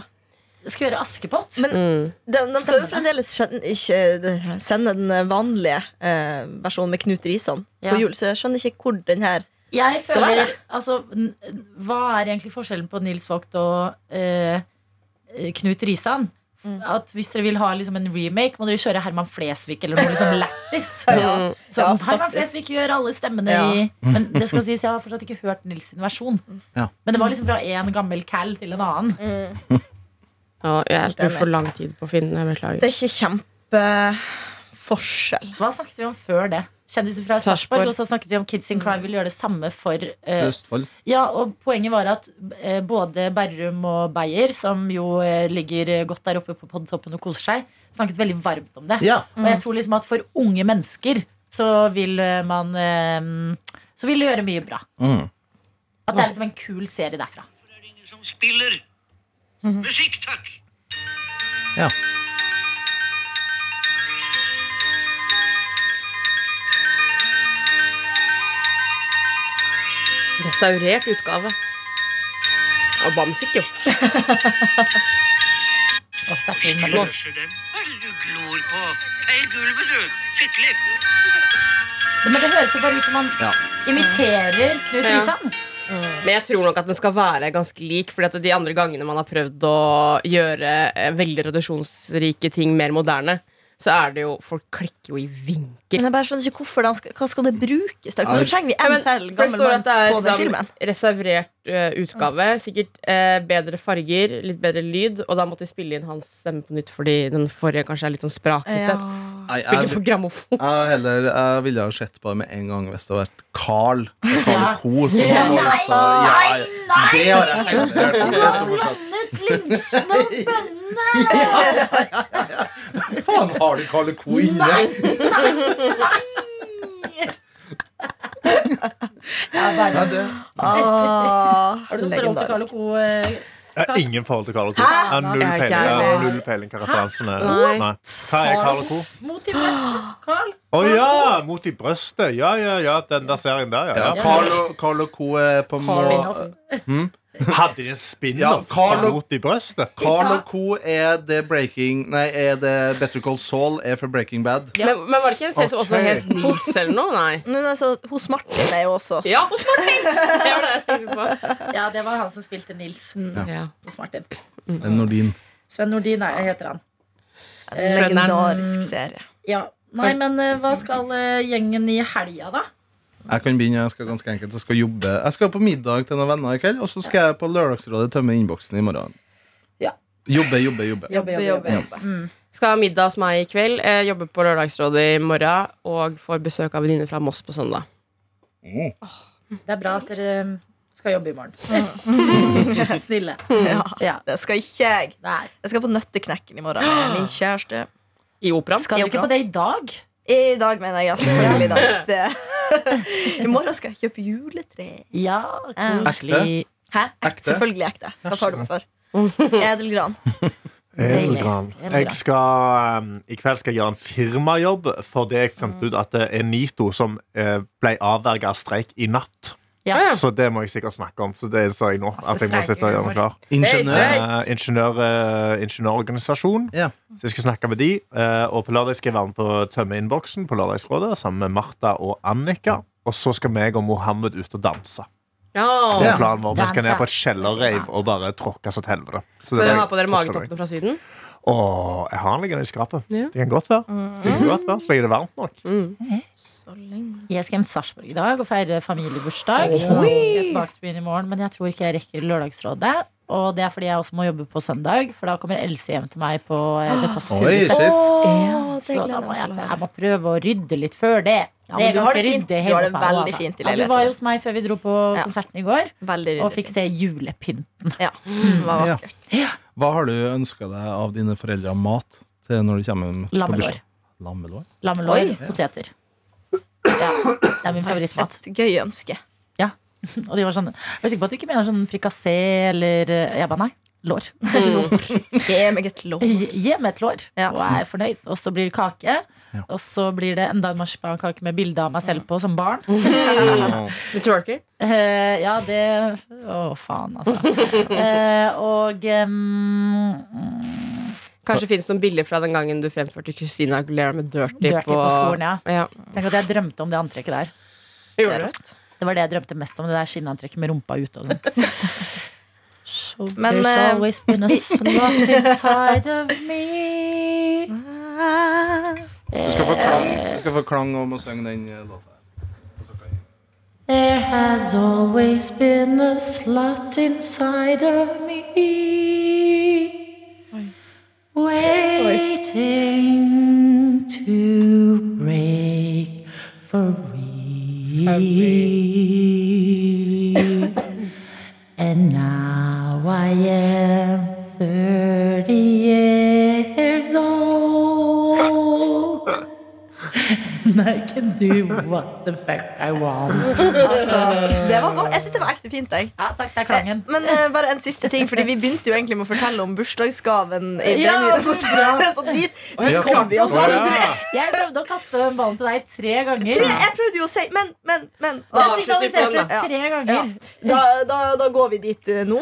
B: Skal gjøre Askepott.
D: Men-
C: Mm.
D: De, de skal jo fremdeles kjenne, ikke eh, sende den vanlige eh, versjonen med Knut Risan
B: Ja.
D: på jul, så jeg skjønner ikke hvor den her
B: Jeg
D: Skal
B: føler
D: være.
B: altså, n- Hva er egentlig forskjellen på Nils Vogt og eh, Knut Risan? F-
D: Mm.
B: At Hvis dere vil ha liksom, en remake, må dere kjøre Herman Flesvig eller noe liksom, lættis.
D: Ja.
B: Så
D: Ja,
B: Herman
D: faktisk.
B: Flesvig gjør alle stemmene
D: Ja.
B: i
D: Mm.
B: Men det skal sies, jeg har fortsatt ikke hørt Nils sin versjon.
F: Ja.
B: Men det var liksom fra én gammel cal til en annen.
D: Mm.
C: Ja, jeg brukte for lang tid på å finne den. jeg
D: Det
C: Beklager.
D: er ikke kjempeforskjell.
B: Hva snakket vi om før det? Kjendiser fra
C: Sarpsborg.
B: Sarpsborg, og så snakket vi om Kids in Crime vil gjøre det samme for eh,
F: Østfold.
B: Ja, og poenget var at eh, både Berrum og Beyer, som jo eh, ligger eh, godt der oppe på podtoppen og koser seg, snakket veldig varmt om det.
F: Ja.
B: Og jeg tror liksom at for unge mennesker så vil eh, man eh, Så vil det gjøre mye bra.
F: Mm.
B: At det er liksom en kul serie derfra.
G: Det er ingen som spiller. Musikk, takk!
F: Ja.
C: Restaurert utgave. Og bra musikk, jo.
B: Åh, det er fin melodi.
G: Løser den. Hva er det du glor på? Feil gulvet, du! Fittelepp!
B: Men det høres jo bare ut som man
F: Ja.
B: imiterer Knut
C: Ja.
B: Risan.
C: Men jeg tror nok at den skal være ganske lik, Fordi at de andre gangene man har prøvd å gjøre eh, veldig reduksjonsrike ting mer moderne, så er det jo Folk klikker jo i vinkel.
D: Men jeg bare skjønner ikke hvorfor de skal, Hva skal det brukes til? Hvorfor trenger vi
C: Ja,
D: en
C: men
D: til
C: for det
D: gammel
C: står
D: mann
C: at det
D: på
C: er
D: den
C: liksom,
D: filmen?
C: reservert eh, utgave. Sikkert eh, bedre farger, litt bedre lyd. Og da måtte de spille inn hans stemme på nytt fordi den forrige kanskje er litt sånn sprakete.
F: Nei, jeg,
C: Spille på grammofon.
F: jeg, heller, jeg ville ha sett på det med en gang hvis det hadde vært Carl. Carl
B: Ja.
F: Co. som
B: Ja.
F: var
B: Nei,
F: altså- ja, Det har jeg heller hørt om. Det står fortsatt.
B: Landet linsen og bønnene!
F: Faen, har du Carl Co. inne?
B: Ja,
F: Nei,
B: Berrum.
F: det
D: Ah,
B: Har du noe forhold til Carl
D: legendarisk.
B: Co? eh,
E: Jeg har ingen forhold til Carl Co. Jeg har null
C: Jeg har ikke
E: peiling, jeg har
C: heller.
E: null peiling hva referansene
C: Nei.
E: er. Nei. Hva er Carl Co?
B: Mot i festen, Carl.
E: Å ja! Mot i brøstet. Ja, ja, ja. Den der serien der, ja. ja.
F: Ja, Carl og, Carl og Co. er på en
B: Spin-off.
F: måte
E: Hadde de en spin-off
F: Ja, Carl og-
E: mot i brøstet?
F: Carl og co. er det Breaking Nei, er det Better Call Saul er for Breaking Bad.
C: Men, men var det ikke en serie som også
E: Ok.
C: het Nis eller noe? Nei.
D: Men altså, hos Martin er jo også
C: Ja, hos Martin! Det var det jeg tenkte på.
B: Ja, det var han som spilte Nils
C: Ja.
B: hos Martin. Mm.
F: Nordin.
B: Sven Nordin er, heter han.
D: en legendarisk serie.
B: Ja. Nei, men eh, hva skal eh, gjengen i helga, da?
F: Jeg kan begynne, jeg skal ganske enkelt Jeg skal jobbe Jeg skal på middag til noen venner i kveld, og så skal jeg på Lørdagsrådet tømme innboksen i morgen.
B: Ja.
F: Jobbe, jobbe, jobbe.
B: Jobbe, jobbe, jobbe.
C: Skal ha middag hos meg i kveld, eh, jobbe på Lørdagsrådet i morgen og får besøk av venninner fra Moss på søndag.
B: Det er bra at dere eh, skal jobbe i morgen. Mm. Snille.
D: Ja,
B: Ja.
D: Mm. det skal ikke jeg.
B: Nei.
D: Jeg skal på Nøtteknekken i morgen
B: Ah.
D: med min kjæreste.
C: I operaen.
B: Skal dere ikke på det i dag?
D: I dag, mener jeg. Ja, selvfølgelig i dag. Det. I morgen skal jeg kjøpe juletre.
B: Ja, koselig.
D: Hæ?
F: Ekte?
D: Selvfølgelig ekte. Hva tar du på for? Edelgran.
E: Edelgran.
B: Edelgran.
E: Jeg skal, um, I kveld skal jeg gjøre en firmajobb fordi jeg fant
C: Mm.
E: ut at det er NITO som eh, ble avverget av streik i natt.
B: Ja.
E: Så det må jeg sikkert snakke om. Så det sa jeg nå.
B: Altså,
E: At jeg må
B: streiker
E: sitte og gjøre meg klar.
F: Ingeniør.
C: Hei,
E: Eh, ingeniør, eh, ingeniørorganisasjon.
F: Ja.
E: Så jeg skal snakke med de. eh, og på lørdag skal jeg være med på å Tømme innboksen på Lørdagsrådet sammen med Martha og Annika. Og så skal meg og Mohammed ut og danse.
C: Ja.
E: Det er planen vår. Vi skal
B: Danse.
E: ned på et kjellerreiv og bare tråkke oss til helvete. Så
C: Så
E: det
C: dere
E: er-
C: har på dere
E: tråkker meg.
C: magetoppene fra Syden?
E: Åh, jeg har den liggende i skapet.
C: Ja. Mm.
E: Det kan godt være. Det kan godt være, Så lenge det er varmt nok.
D: Så lenge.
B: Jeg skal hjem til Sarpsborg i dag og feire familiebursdag. Og så skal jeg tilbake til byen i morgen, Men jeg tror ikke jeg rekker Lørdagsrådet. Og det er fordi jeg også må jobbe på søndag, for da kommer Else hjem til meg på eh, The Kåss
F: Ah, Oi,
B: Furuseths.
F: shit.
D: Å, det
B: Så da
D: gleder
B: må
D: jeg
B: jeg,
D: meg til å
B: jeg
D: høre.
B: må prøve å rydde litt før det. det
D: Ja, men
B: er
D: du
B: ganske
D: har det fint.
B: ryddig
D: Du har
B: hjemme
D: det
B: hos meg nå,
D: veldig fint
B: Ja, du
D: i leiligheten
B: var
D: din.
B: jo hos meg før vi dro på
D: Ja.
B: konserten i går
D: Veldig
B: og fikk se julepynt.
D: Ja, det var
F: Ja.
D: vakkert.
F: Hva har du ønska deg av dine foreldre av mat til når du kommer hjem? på
B: Lammelår.
F: bursdag? Lammelår?
B: Lammelår,
D: Oi.
B: poteter. Ja, det er min favorittmat.
D: Et gøy ønske.
B: Og de var sånn Er du sikker på at du ikke mener sånn frikassé eller eh, Jeg bare nei. Lår.
D: Gi meg et lov.
B: Gi gi meg et lår,
D: Ja.
B: og jeg er fornøyd. Og så blir det kake. Og så blir det enda en marsipankake med bilde av meg selv på som barn.
C: Med twerker?
B: Eh, ja, det Å, faen, altså. Eh, og em,
C: Kanskje finnes noen bilder fra den gangen du fremførte Christina Aguilera med Dirty,
B: Dirty på skolen, ja.
C: ja.
B: Tenk at jeg drømte om det antrekket der.
C: Gjorde du?
B: Det var det jeg drømte mest om. Det der skinnantrekket med rumpa ute og sånt. So
D: Men,
B: there's
D: eh,
B: always been a slot inside of me
F: Du skal få klang, du skal få klang om å synge den eh, låta. Og så kan jeg-
B: There has always been a slot inside of me Waiting to break free And now I am 30 years old And I can do what the fuck I want
D: Altså, det var, vak- jeg syns det var ekte fint. Jeg.
B: Ja, takk, det er
D: Eh,
B: klangen
D: Men eh, bare en siste ting, Fordi vi begynte jo egentlig med å fortelle om bursdagsgaven. I
B: Ja, det
D: Brennevin.
B: er bra.
D: så dit, dit kom
B: mm,
D: vi oss
E: Å,
D: aldri.
E: ja.
B: Jeg prøvde å kaste den ballen til deg tre ganger.
D: Tre, jeg prøvde jo å si Men, men, men.
B: Jeg
D: Da,
B: signaliserte
C: Ja.
B: tre ganger.
D: da, da, da går vi dit eh, nå.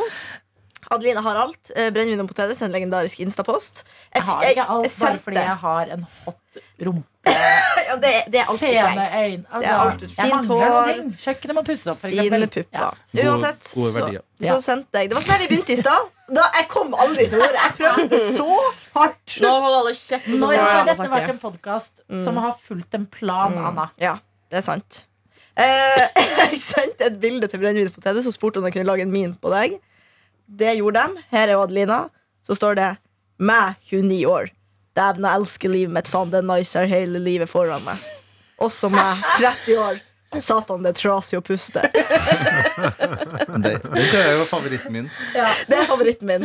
D: Adeline har alt. Eh, Brennevin og potetes, en legendarisk instapost.
B: Jeg har ikke alt bare
D: sendte-
B: fordi jeg har en hot rumpe,
D: ja, det, det er alt vi
B: pene
D: trenger.
B: øyne altså,
D: Det er alt ut.
B: Jeg
D: Fint
B: mangler noen
D: hår.
B: ting. Kjøkkenet må pusses opp, for
D: Fine
B: eksempel.
D: pupper.
F: Gode-
D: Uansett, så,
F: gode verdier.
B: Ja.
D: så sendte jeg Det var sånn her vi begynte i stad. Da, jeg kom aldri til ordet. Jeg prøvde så hardt.
C: Nå holder alle kjeft. og så
B: Når
C: får
B: har
C: alle
B: dette
C: snakke.
B: vært en podkast
D: Mm.
B: som har fulgt en plan, Anna?
D: Ja, det er sant. Eh, jeg sendte et bilde til Brennevin og Potetes og spurte om de kunne lage en min på deg. Det gjorde de. Her er jo Adelina. Så står det 'meg, 29 år'. Dæven, jeg elsker livet mitt. Faen, det er nice. Jeg har hele livet foran meg. Også meg, 30 år. Satan, det er trasig å puste.
F: Det, det er jo favoritten min.
D: Det er favoritten min.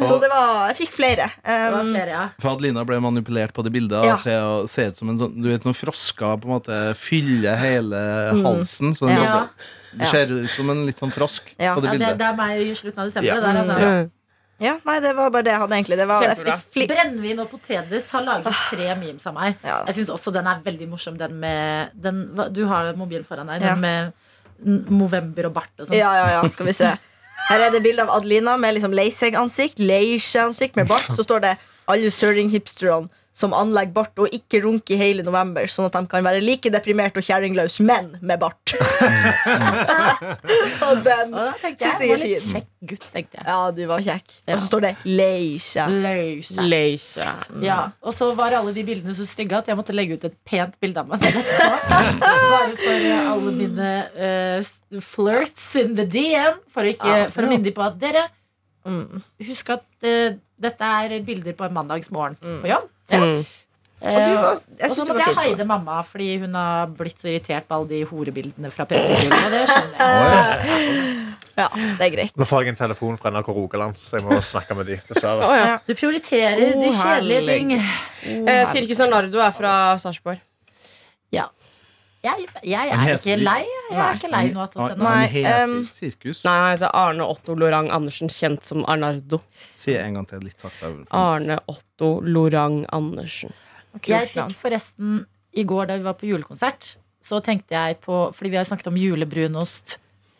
D: Så det var Jeg fikk flere.
B: Det var
D: Um,
B: flere, ja.
F: For Adelina ble manipulert på det bildet
D: Ja.
F: til å se ut som en sånn Du vet når frosker på en måte fyller hele halsen. Så den
D: Ja.
F: doble- Det
D: Ja.
F: ser ut som en litt sånn frosk
D: Ja.
F: på det
B: ja det,
F: bildet.
B: det er meg i slutten av
F: Ja.
B: desember. det Der, altså.
C: Mm.
D: ja, nei, det var bare det jeg hadde, egentlig. Det var, jeg
C: Kjempebra.
D: fikk fli
B: Brennevin og potetis har laget tre memes av meg.
D: Ah. Ja.
B: Jeg syns også den er veldig morsom, den med den, hva- Du har mobilen foran deg,
D: Ja.
B: den med n- Movember og bart og sånn.
D: ja, ja, ja, skal vi se. Her er det bilde av Adelina med liksom lei seg-ansikt, lei seg-ansikt med bart. Så står det 'alle søring-hipsterne som anlegger bart og ikke runker i hele november', sånn at de kan være like deprimert og kjerringløs, men med bart. og den
B: Og da tenkte jeg,
D: Synes jeg
B: jeg var
D: er
B: litt
D: fin.
B: kjekk gutt, tenkte jeg.
D: Ja, du var kjekk. Og
B: Ja. Mm.
D: så står det 'lei seg'.
B: Løse.
C: Leisha.
D: Mm.
B: Ja, Og så var alle de bildene så stygge at jeg måtte legge ut et pent bilde av meg selv etterpå. Bare for eh, alle mine eh, s- flirts in the DM, for å, ikke,
D: Ja.
B: for å minne dem på at dere
D: Mm.
B: Husk at eh, dette er bilder på en mandagsmorgen på jobb.
C: Mm.
D: Og du var,
B: Og
D: jeg
B: så
D: syns du
B: måtte
D: var
B: jeg
D: fin.
B: haide mamma fordi hun har blitt så irritert på alle de horebildene fra P3. Og det skjønner jeg.
D: Ja, det er greit.
E: Nå får jeg en telefon fra NRK Rogaland, så jeg må snakke med de, dessverre.
C: Å, ja.
B: Du prioriterer de
C: Oh,
B: kjedelige ting.
C: eh, Sirkus Arnardo er fra Sarpsborg.
B: Jeg, jeg
F: Men
B: er
F: heter
B: ikke
F: de-
B: lei. Jeg er ikke lei nå. at
F: Han-
B: den-
D: Nei,
F: Han heter
D: ehm,
F: sirkus.
C: Nei, det er Arne Otto Lorang Andersen, kjent som Arnardo.
F: Si en gang til, litt sakte.
C: Arne Otto Lorang Andersen.
B: Jeg
D: Kult navn.
B: fikk forresten i går da vi var på julekonsert, så tenkte jeg på Fordi vi har snakket om julebrunost.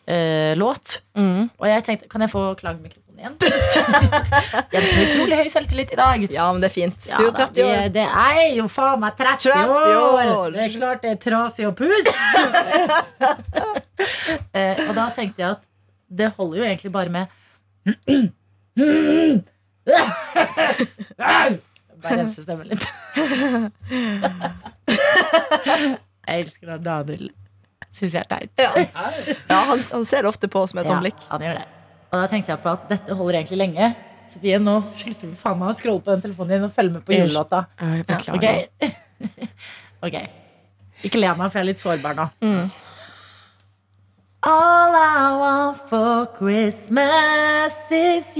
B: eh, låt.
D: Mm.
B: Og jeg tenkte, kan jeg få klagemikrofonen igjen? jeg har utrolig høy selvtillit i dag.
D: Ja, men det er fint.
B: Ja,
D: Du er jo
B: da,
D: 30 år.
B: vi- Det er jo faen meg 30 år.
D: 30 år.
B: Det er klart det er trasig å puste. eh, og da tenkte jeg at det holder jo egentlig bare med Bare rense stemmen litt. jeg elsker når Daniel syns jeg er teit.
D: Ja, ja han, han ser ofte på oss med et sånt blikk.
B: Ja, han gjør det. Og da tenkte jeg på at dette holder egentlig lenge. Sofie, nå slutter du faen meg å scrolle på den telefonen din og følge med på
C: Unnskyld.
B: julelåta.
C: Jeg beklager.
B: Ok. ok. Ikke le av meg, for jeg er litt sårbar nå. All I want for Christmas is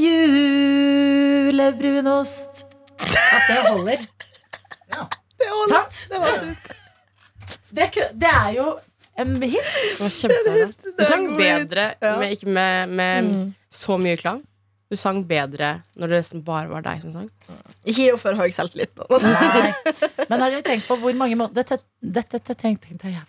B: julebrunost. At det holder.
D: Det er all-
B: Sant?
D: det var det.
B: Det, ku- det er jo en hit.
C: Det var kjempebra. Du
D: er
C: sang
D: en god lyd.
C: bedre,
D: Ja.
C: med, ikke med, med
B: Mm.
C: så mye klang. Du sang bedre når det nesten bare var deg som sang.
D: Ikke gi henne for høy selvtillit. på den.
B: Nei. Men har dere tenkt på hvor mange måneder Dette, dette, dette tenkte jeg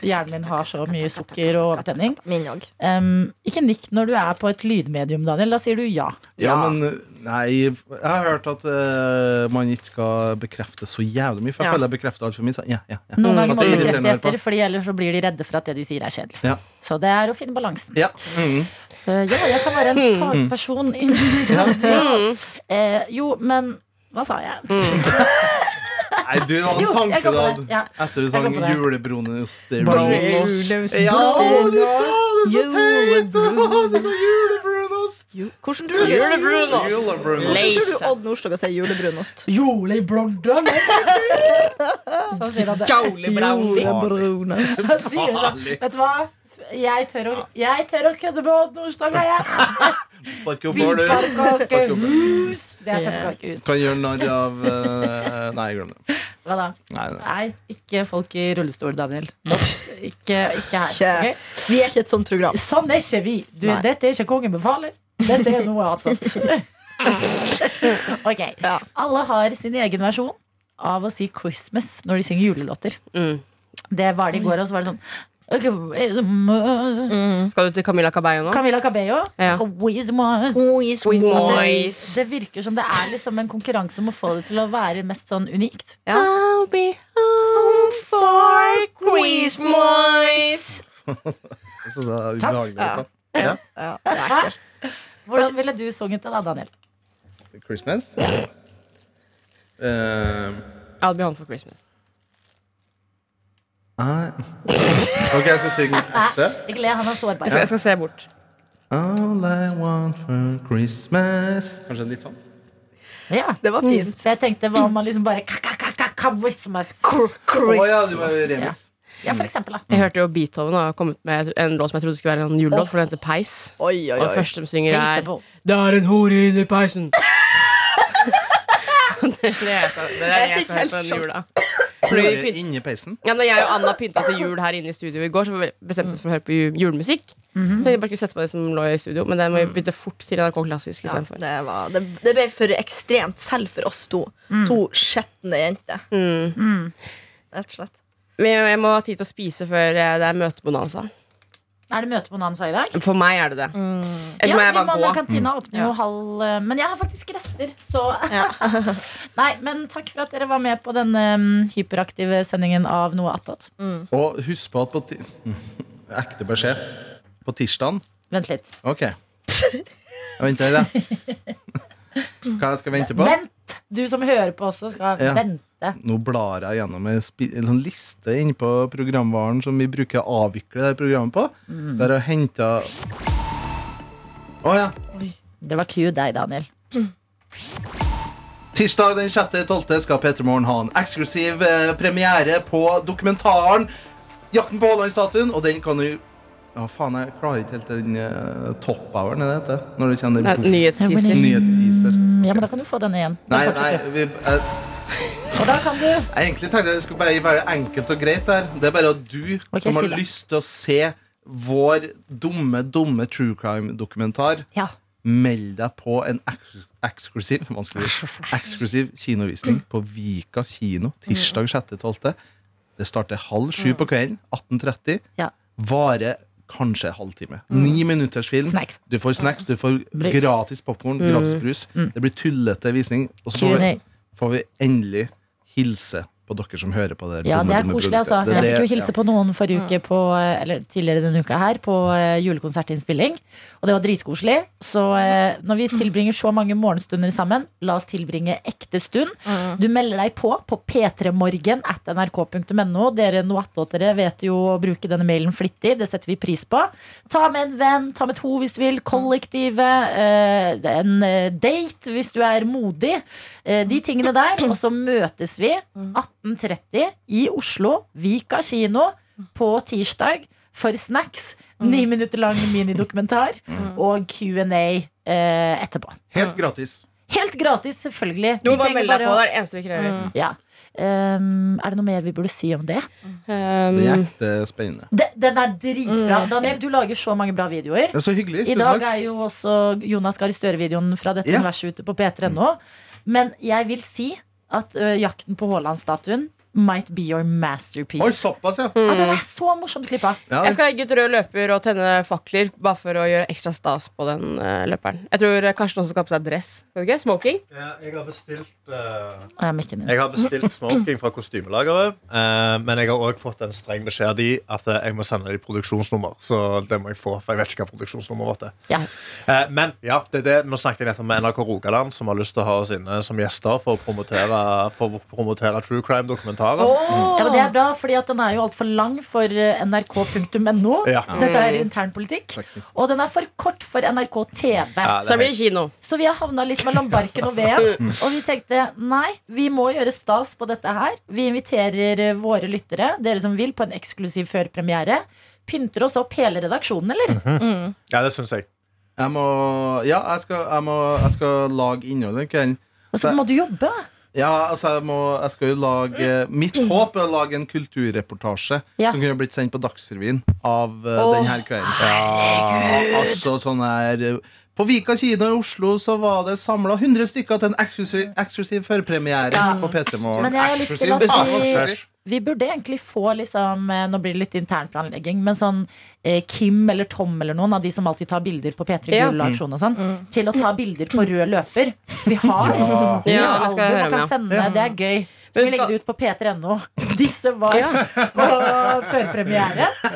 B: Hjernen min har så mye sukker og overtenning.
D: Min òg.
B: Um, ikke nikk når du er på et lydmedium, Daniel. Da sier du ja.
F: Ja, men eh, nei, jeg har hørt at eh, man ikke skal bekrefte så jævlig mye. For jeg
D: Ja.
F: føler jeg bekrefter altfor mye. Så, ja, ja, ja.
B: Noen ganger
F: Mm. At
B: må
F: det
B: du
F: irriterer
B: bekrefte
F: meg
B: gjester,
F: på.
B: Fordi ellers så blir de redde for at det de sier, er kjedelig.
F: Ja.
B: Så det er å finne balansen.
F: Ja. Mhm.
B: Eh, ja, jeg kan være
F: Hmm.
B: en fagperson innen radio. Eh, jo, men hva sa jeg?
F: Hmm. Nei, du hadde
B: Jo,
F: en
B: jeg går
F: tanke du
B: på det.
F: hadde
B: Ja.
F: etter du
B: går
F: sang
B: på det.
F: julebronost.
D: Julebrunost.
F: Ja, å, du sa det så teit! Å,
D: Julebrunost.
F: Du sa julebronost!
D: Hvordan tror du
F: Julebronost.
D: Hvordan tror du Odd Nordstoga sier julebrunost?
B: Sånn sier han det.
C: Jolly brown.
D: Julebrunost.
B: Så sier han sånn, Vet du hva? Jeg tør å, jeg tør å kødde med Odd Nordstoga, jeg.
F: Sparker opp hår, du.
B: Pepperkakehus. Det er pepperkakehus.
F: Kan gjøre narr av eh, Nei, glem det.
B: Hva da?
F: Nei, nei.
B: Nei, ikke folk i rullestol, Daniel. Ikke, ikke her.
D: Ikke-
B: ok?
D: Vi er ikke et sånt program.
B: Sånn er ikke vi. Du,
D: Nei.
B: dette er ikke kongen befaler. Dette er noe annet. ok.
D: Ja.
B: Alle har sin egen versjon av å si 'Christmas' når de synger julelåter.
C: Mm.
B: Det var det i går, og så var det
D: Mm.
B: sånn
C: Skal du til Camilla Cabello nå?
B: Camilla Cabello.
C: Ja.
B: Christmas.
D: Quiz,
C: Quiz
D: quiz.
C: more.
B: Det,
C: Boys.
B: det virker som det er liksom en konkurranse om å få det til å være mest sånn unikt.
D: Ja.
C: I'll be home for
F: Så det er
B: Sant?
F: ubehagelig.
D: Ja.
F: da.
D: Ja, det er ekkelt.
B: Hvordan ville du sunget det da, Daniel?
F: Christmas? Eh,
C: I'll be home for Christmas.
F: nei. OK, jeg skal synge ekte.
B: Ikke le, han er sårbar.
C: Jeg skal, jeg skal se bort.
F: All I want for Christmas Kanskje litt sånn?
B: Ja.
D: Det var fint.
B: Så jeg tenkte, hva om man liksom bare ka, ka, ka, ka, Christmas?
F: Å ja, det var
D: Christmas.
F: remix.
B: Ja, for eksempel, da.
C: Jeg hørte jo Beethoven har kommet med en låt som jeg trodde skulle være en julelåt, for den heter Peis.
D: Oi, oi,
C: Og det
D: oi.
C: første de synger, er
B: Reasonable.
C: Det er en hore inni peisen. det er det jeg sa- det er det jeg
D: fikk helt
C: skal høre på den
D: sjokk.
C: jula.
F: Ble
C: Fordi vi pynt-
F: inni peisen?
C: Ja, når jeg og Anna pynta til jul her inne i studio i går, så bestemte vi oss for å høre på ju- julemusikk. Så jeg bare kunne sette på det som lå i studio, men det må
D: Mm.
C: vi bytte fort til NRK
D: Ja,
C: Klassisk istedenfor.
D: det, var, det, det ble for ekstremt selv for oss to. To skjetne jenter. Rett og slett.
C: Men jeg- jeg må ha tid til å spise før eh, det er møtebonanza.
B: Er det møte på Nansa i dag?
C: For meg er det det. Ellers
B: Ja,
C: må jeg
B: fordi
C: bare
B: mamma
C: gå. Mm.
B: kantina åpner jo halv eh, Men jeg har faktisk rester, så Nei, men takk for at dere var med på denne mm, hyperaktive sendingen av Noe attåt.
F: Og husk på at på ti Ekte beskjed. På tirsdagen
B: Vent litt.
F: Ok. Jeg venter her, jeg. Hva jeg skal vente på?
B: Vent! Du som hører på også, skal
F: Ja.
B: vente.
F: Nå blar jeg gjennom en, spi en sånn liste inne på programvaren som vi bruker å avvikle det programmet på. Der jeg henta Å ja.
B: Det var cue deg, Daniel.
F: Tirsdag den 6.12. skal Petter Morgen ha en eksklusiv eh, premiere på dokumentaren 'Jakten på Haaland-statuen', og den kan du Ja, faen, jeg klarer ikke helt den uh, topphour'n, er det det heter? Når det kjenner
C: Nei, Nyhetsteaser.
F: nyhetsteaser.
B: Mm, Ja, men da kan du få denne igjen. Da
F: Nei, nei,
B: fortsetter du.
F: vi, jeg,
B: Og da kan du
F: Jeg egentlig tenkte jeg skulle bare være enkelt og greit der. Det er bare at du
B: Ok,
F: som har
B: si det.
F: lyst til å se vår dumme, dumme true crime-dokumentar,
B: Ja.
F: meld deg på en eks- eksklusiv vanskelig ord, eksklusiv kinovisning på Vika kino tirsdag 6.12. Det starter halv sju på kvelden. 18.30.
B: Ja. Mm.
F: Varer kanskje en halvtime. Ni minutters film.
B: Snacks.
F: Du får snacks, du får
B: Brus. Mm.
F: gratis popkorn, gratis brus. Det blir tullete visning. Og så får vi
B: Q&A.
F: får vi endelig hilse på dere som hører på det. her
B: Ja,
F: dumme,
B: det er
F: dumme
B: koselig,
F: produktet.
B: altså.
F: Det er
B: Jeg
F: det-
B: fikk jo hilse på noen forrige uke på, eller tidligere denne uka her, på eh, julekonsertinnspilling. Og det var dritkoselig. Så eh, når vi tilbringer så mange morgenstunder sammen, la oss tilbringe ekte stund.
D: Mm.
B: Du melder deg på på p3morgen at nrk.no. Dere noattåtere vet jo å bruke denne mailen flittig. Det setter vi pris på. Ta med en venn, ta med to hvis du vil. Kollektivet. eh, En eh, date hvis du er modig. Eh, De tingene der. Og så møtes vi 18.30 i Oslo, Vika kino, på tirsdag for snacks. Ni minutter lang minidokumentar
C: Mm.
B: og Q&A eh, etterpå.
F: Helt gratis.
B: Helt gratis, selvfølgelig.
C: Du
B: Vi
C: må bare
B: trenger
C: melde deg
B: å- Mm.
C: på. Det er det eneste vi krever.
D: Mm.
B: Ja. Um, er det noe mer vi burde si om det? Mm.
F: Det er
C: Um,
F: ekte spennende.
B: De, den er dritbra. Daniel, du lager så mange bra videoer.
F: Det er så hyggelig.
B: I
F: Mm. Tusen
B: dag
F: takk.
B: er jo også Jonas Gahr Støre-videoen fra dette
F: Ja.
B: universet ute på p3.no. Men jeg vil si at ø, jakten på Haaland-statuen might be your masterpiece.
F: Oi, såpass, ja.
B: ja, den er så morsomt klippa.
F: ja.
C: jeg skal legge ut rød løper og tenne fakler bare for å gjøre ekstra stas på den eh, løperen. Jeg tror Karsten også skal ha på seg dress. Skal du ikke? Smoking.
E: Jeg har bestilt eh,
B: Å, jeg er mikken din.
E: Jeg har bestilt smoking fra kostymelageret, eh, men jeg har også fått en streng beskjed av de at eh, jeg må sende dem produksjonsnummer. Så det må jeg få, for jeg vet ikke hva produksjonsnummer vårt er.
B: Ja.
E: Eh, men ja, det er det. nå snakket jeg nettopp med NRK Rogaland, som har lyst til å ha oss inne som gjester for å promotere, for å promotere true crime-dokumentarer.
B: Ja, men det er bra, fordi at den er jo altfor lang for ø, nrk.no.
E: Ja.
B: Dette
F: Mm.
B: er internpolitikk. Og den er for kort for NRK TV.
E: Ja,
C: Så
E: det
C: det blir kino.
B: Så vi har havna litt mellom barken og veden. Og vi tenkte nei, vi må gjøre stas på dette her. Vi inviterer eh, våre lyttere, dere som vil, på en eksklusiv førpremiere. Pynter oss opp hele redaksjonen, eller?
E: ja, det syns jeg.
F: Jeg må Ja, jeg skal, jeg må, jeg skal lage innhold den kvelden.
B: Og så må du jobbe.
F: Ja, altså, jeg, må, jeg skal jo lage Mitt håp er å lage en kulturreportasje
B: Ja.
F: som kunne blitt sendt på Dagsrevyen av eh, denne kvelden. Ja, altså sånn her eh, På Vika kino i Oslo så var det samla 100 stykker til en eksklusiv, eksklusiv førpremiere på P3
B: Men
F: Morgen.
B: jeg har lyst til at
F: Eksklusiv. Faen,
B: vi
F: hva skjer?
B: vi burde egentlig få liksom eh, Nå blir det litt internplanlegging, men sånn eh, Kim eller Tom eller noen av de som alltid tar bilder på P3
C: Ja.
B: Gull og aksjon og sånn, til å ta bilder på rød løper. Så vi har vi har et
C: Ja, det skal jeg
B: album og
C: høre med,
B: kan
C: ja.
B: sende. Det er gøy. Så vi
C: Men
B: legger
C: skal-
B: det ut på p3.no. Disse var på førpremiere. Og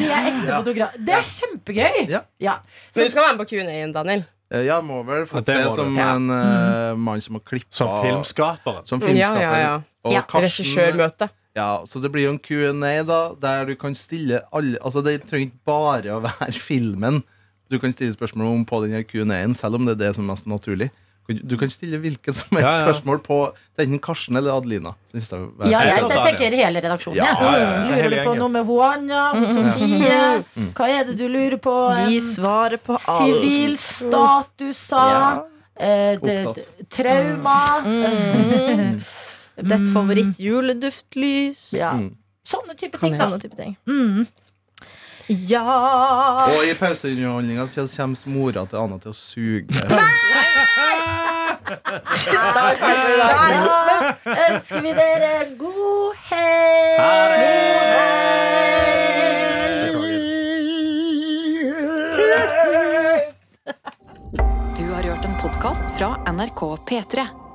B: de er ekte fotografer. Det er kjempegøy!
F: Ja.
C: Men du skal være med på Q&A-en, Daniel.
F: Eh, Jeg må vel få
E: Ja, det
F: det,
E: må du.
F: som
C: Ja.
F: en eh, mann som har klippa
E: Som filmskaperen.
F: som filmskaper.
C: Ja, ja, ja.
F: Og
B: Ja.
F: Karsten-
C: Regissørmøte.
F: Ja, så det blir jo en Q&A, da, der du kan stille alle Altså, det trenger ikke bare å være filmen du kan stille spørsmål om på denne Q&A-en, selv om det er det som er mest naturlig. Du kan stille hvilket som helst
E: Ja, ja.
F: spørsmål på enten Karsten eller Adelina. Så hvis det er-
B: Ja, jeg,
E: Jeg
B: jeg
E: ser
B: tenker hele redaksjonen.
E: Ja,
B: jeg.
E: ja, ja, ja.
B: Lurer
E: Hele
B: du på
E: gjengen.
B: noe med Juana, Sofie? Hva er det du lurer på?
D: Vi svarer på alt.
B: Sivil status sa eh, det-
F: Opptatt.
B: det- Trauma
E: Mm.
B: eh,
D: Mm. Ditt favoritt juleduftlys.
B: ja.
E: Mm.
B: Sånne type ting sånn. Mm. da.
D: Ting, sånne type ting. Ja
F: Og i pauseunderholdninga så kommer mora til Anna til å suge.
B: Da ønsker vi dere en god helg
E: Ha det! Det er kongen.
B: God helg.
A: NRK P3.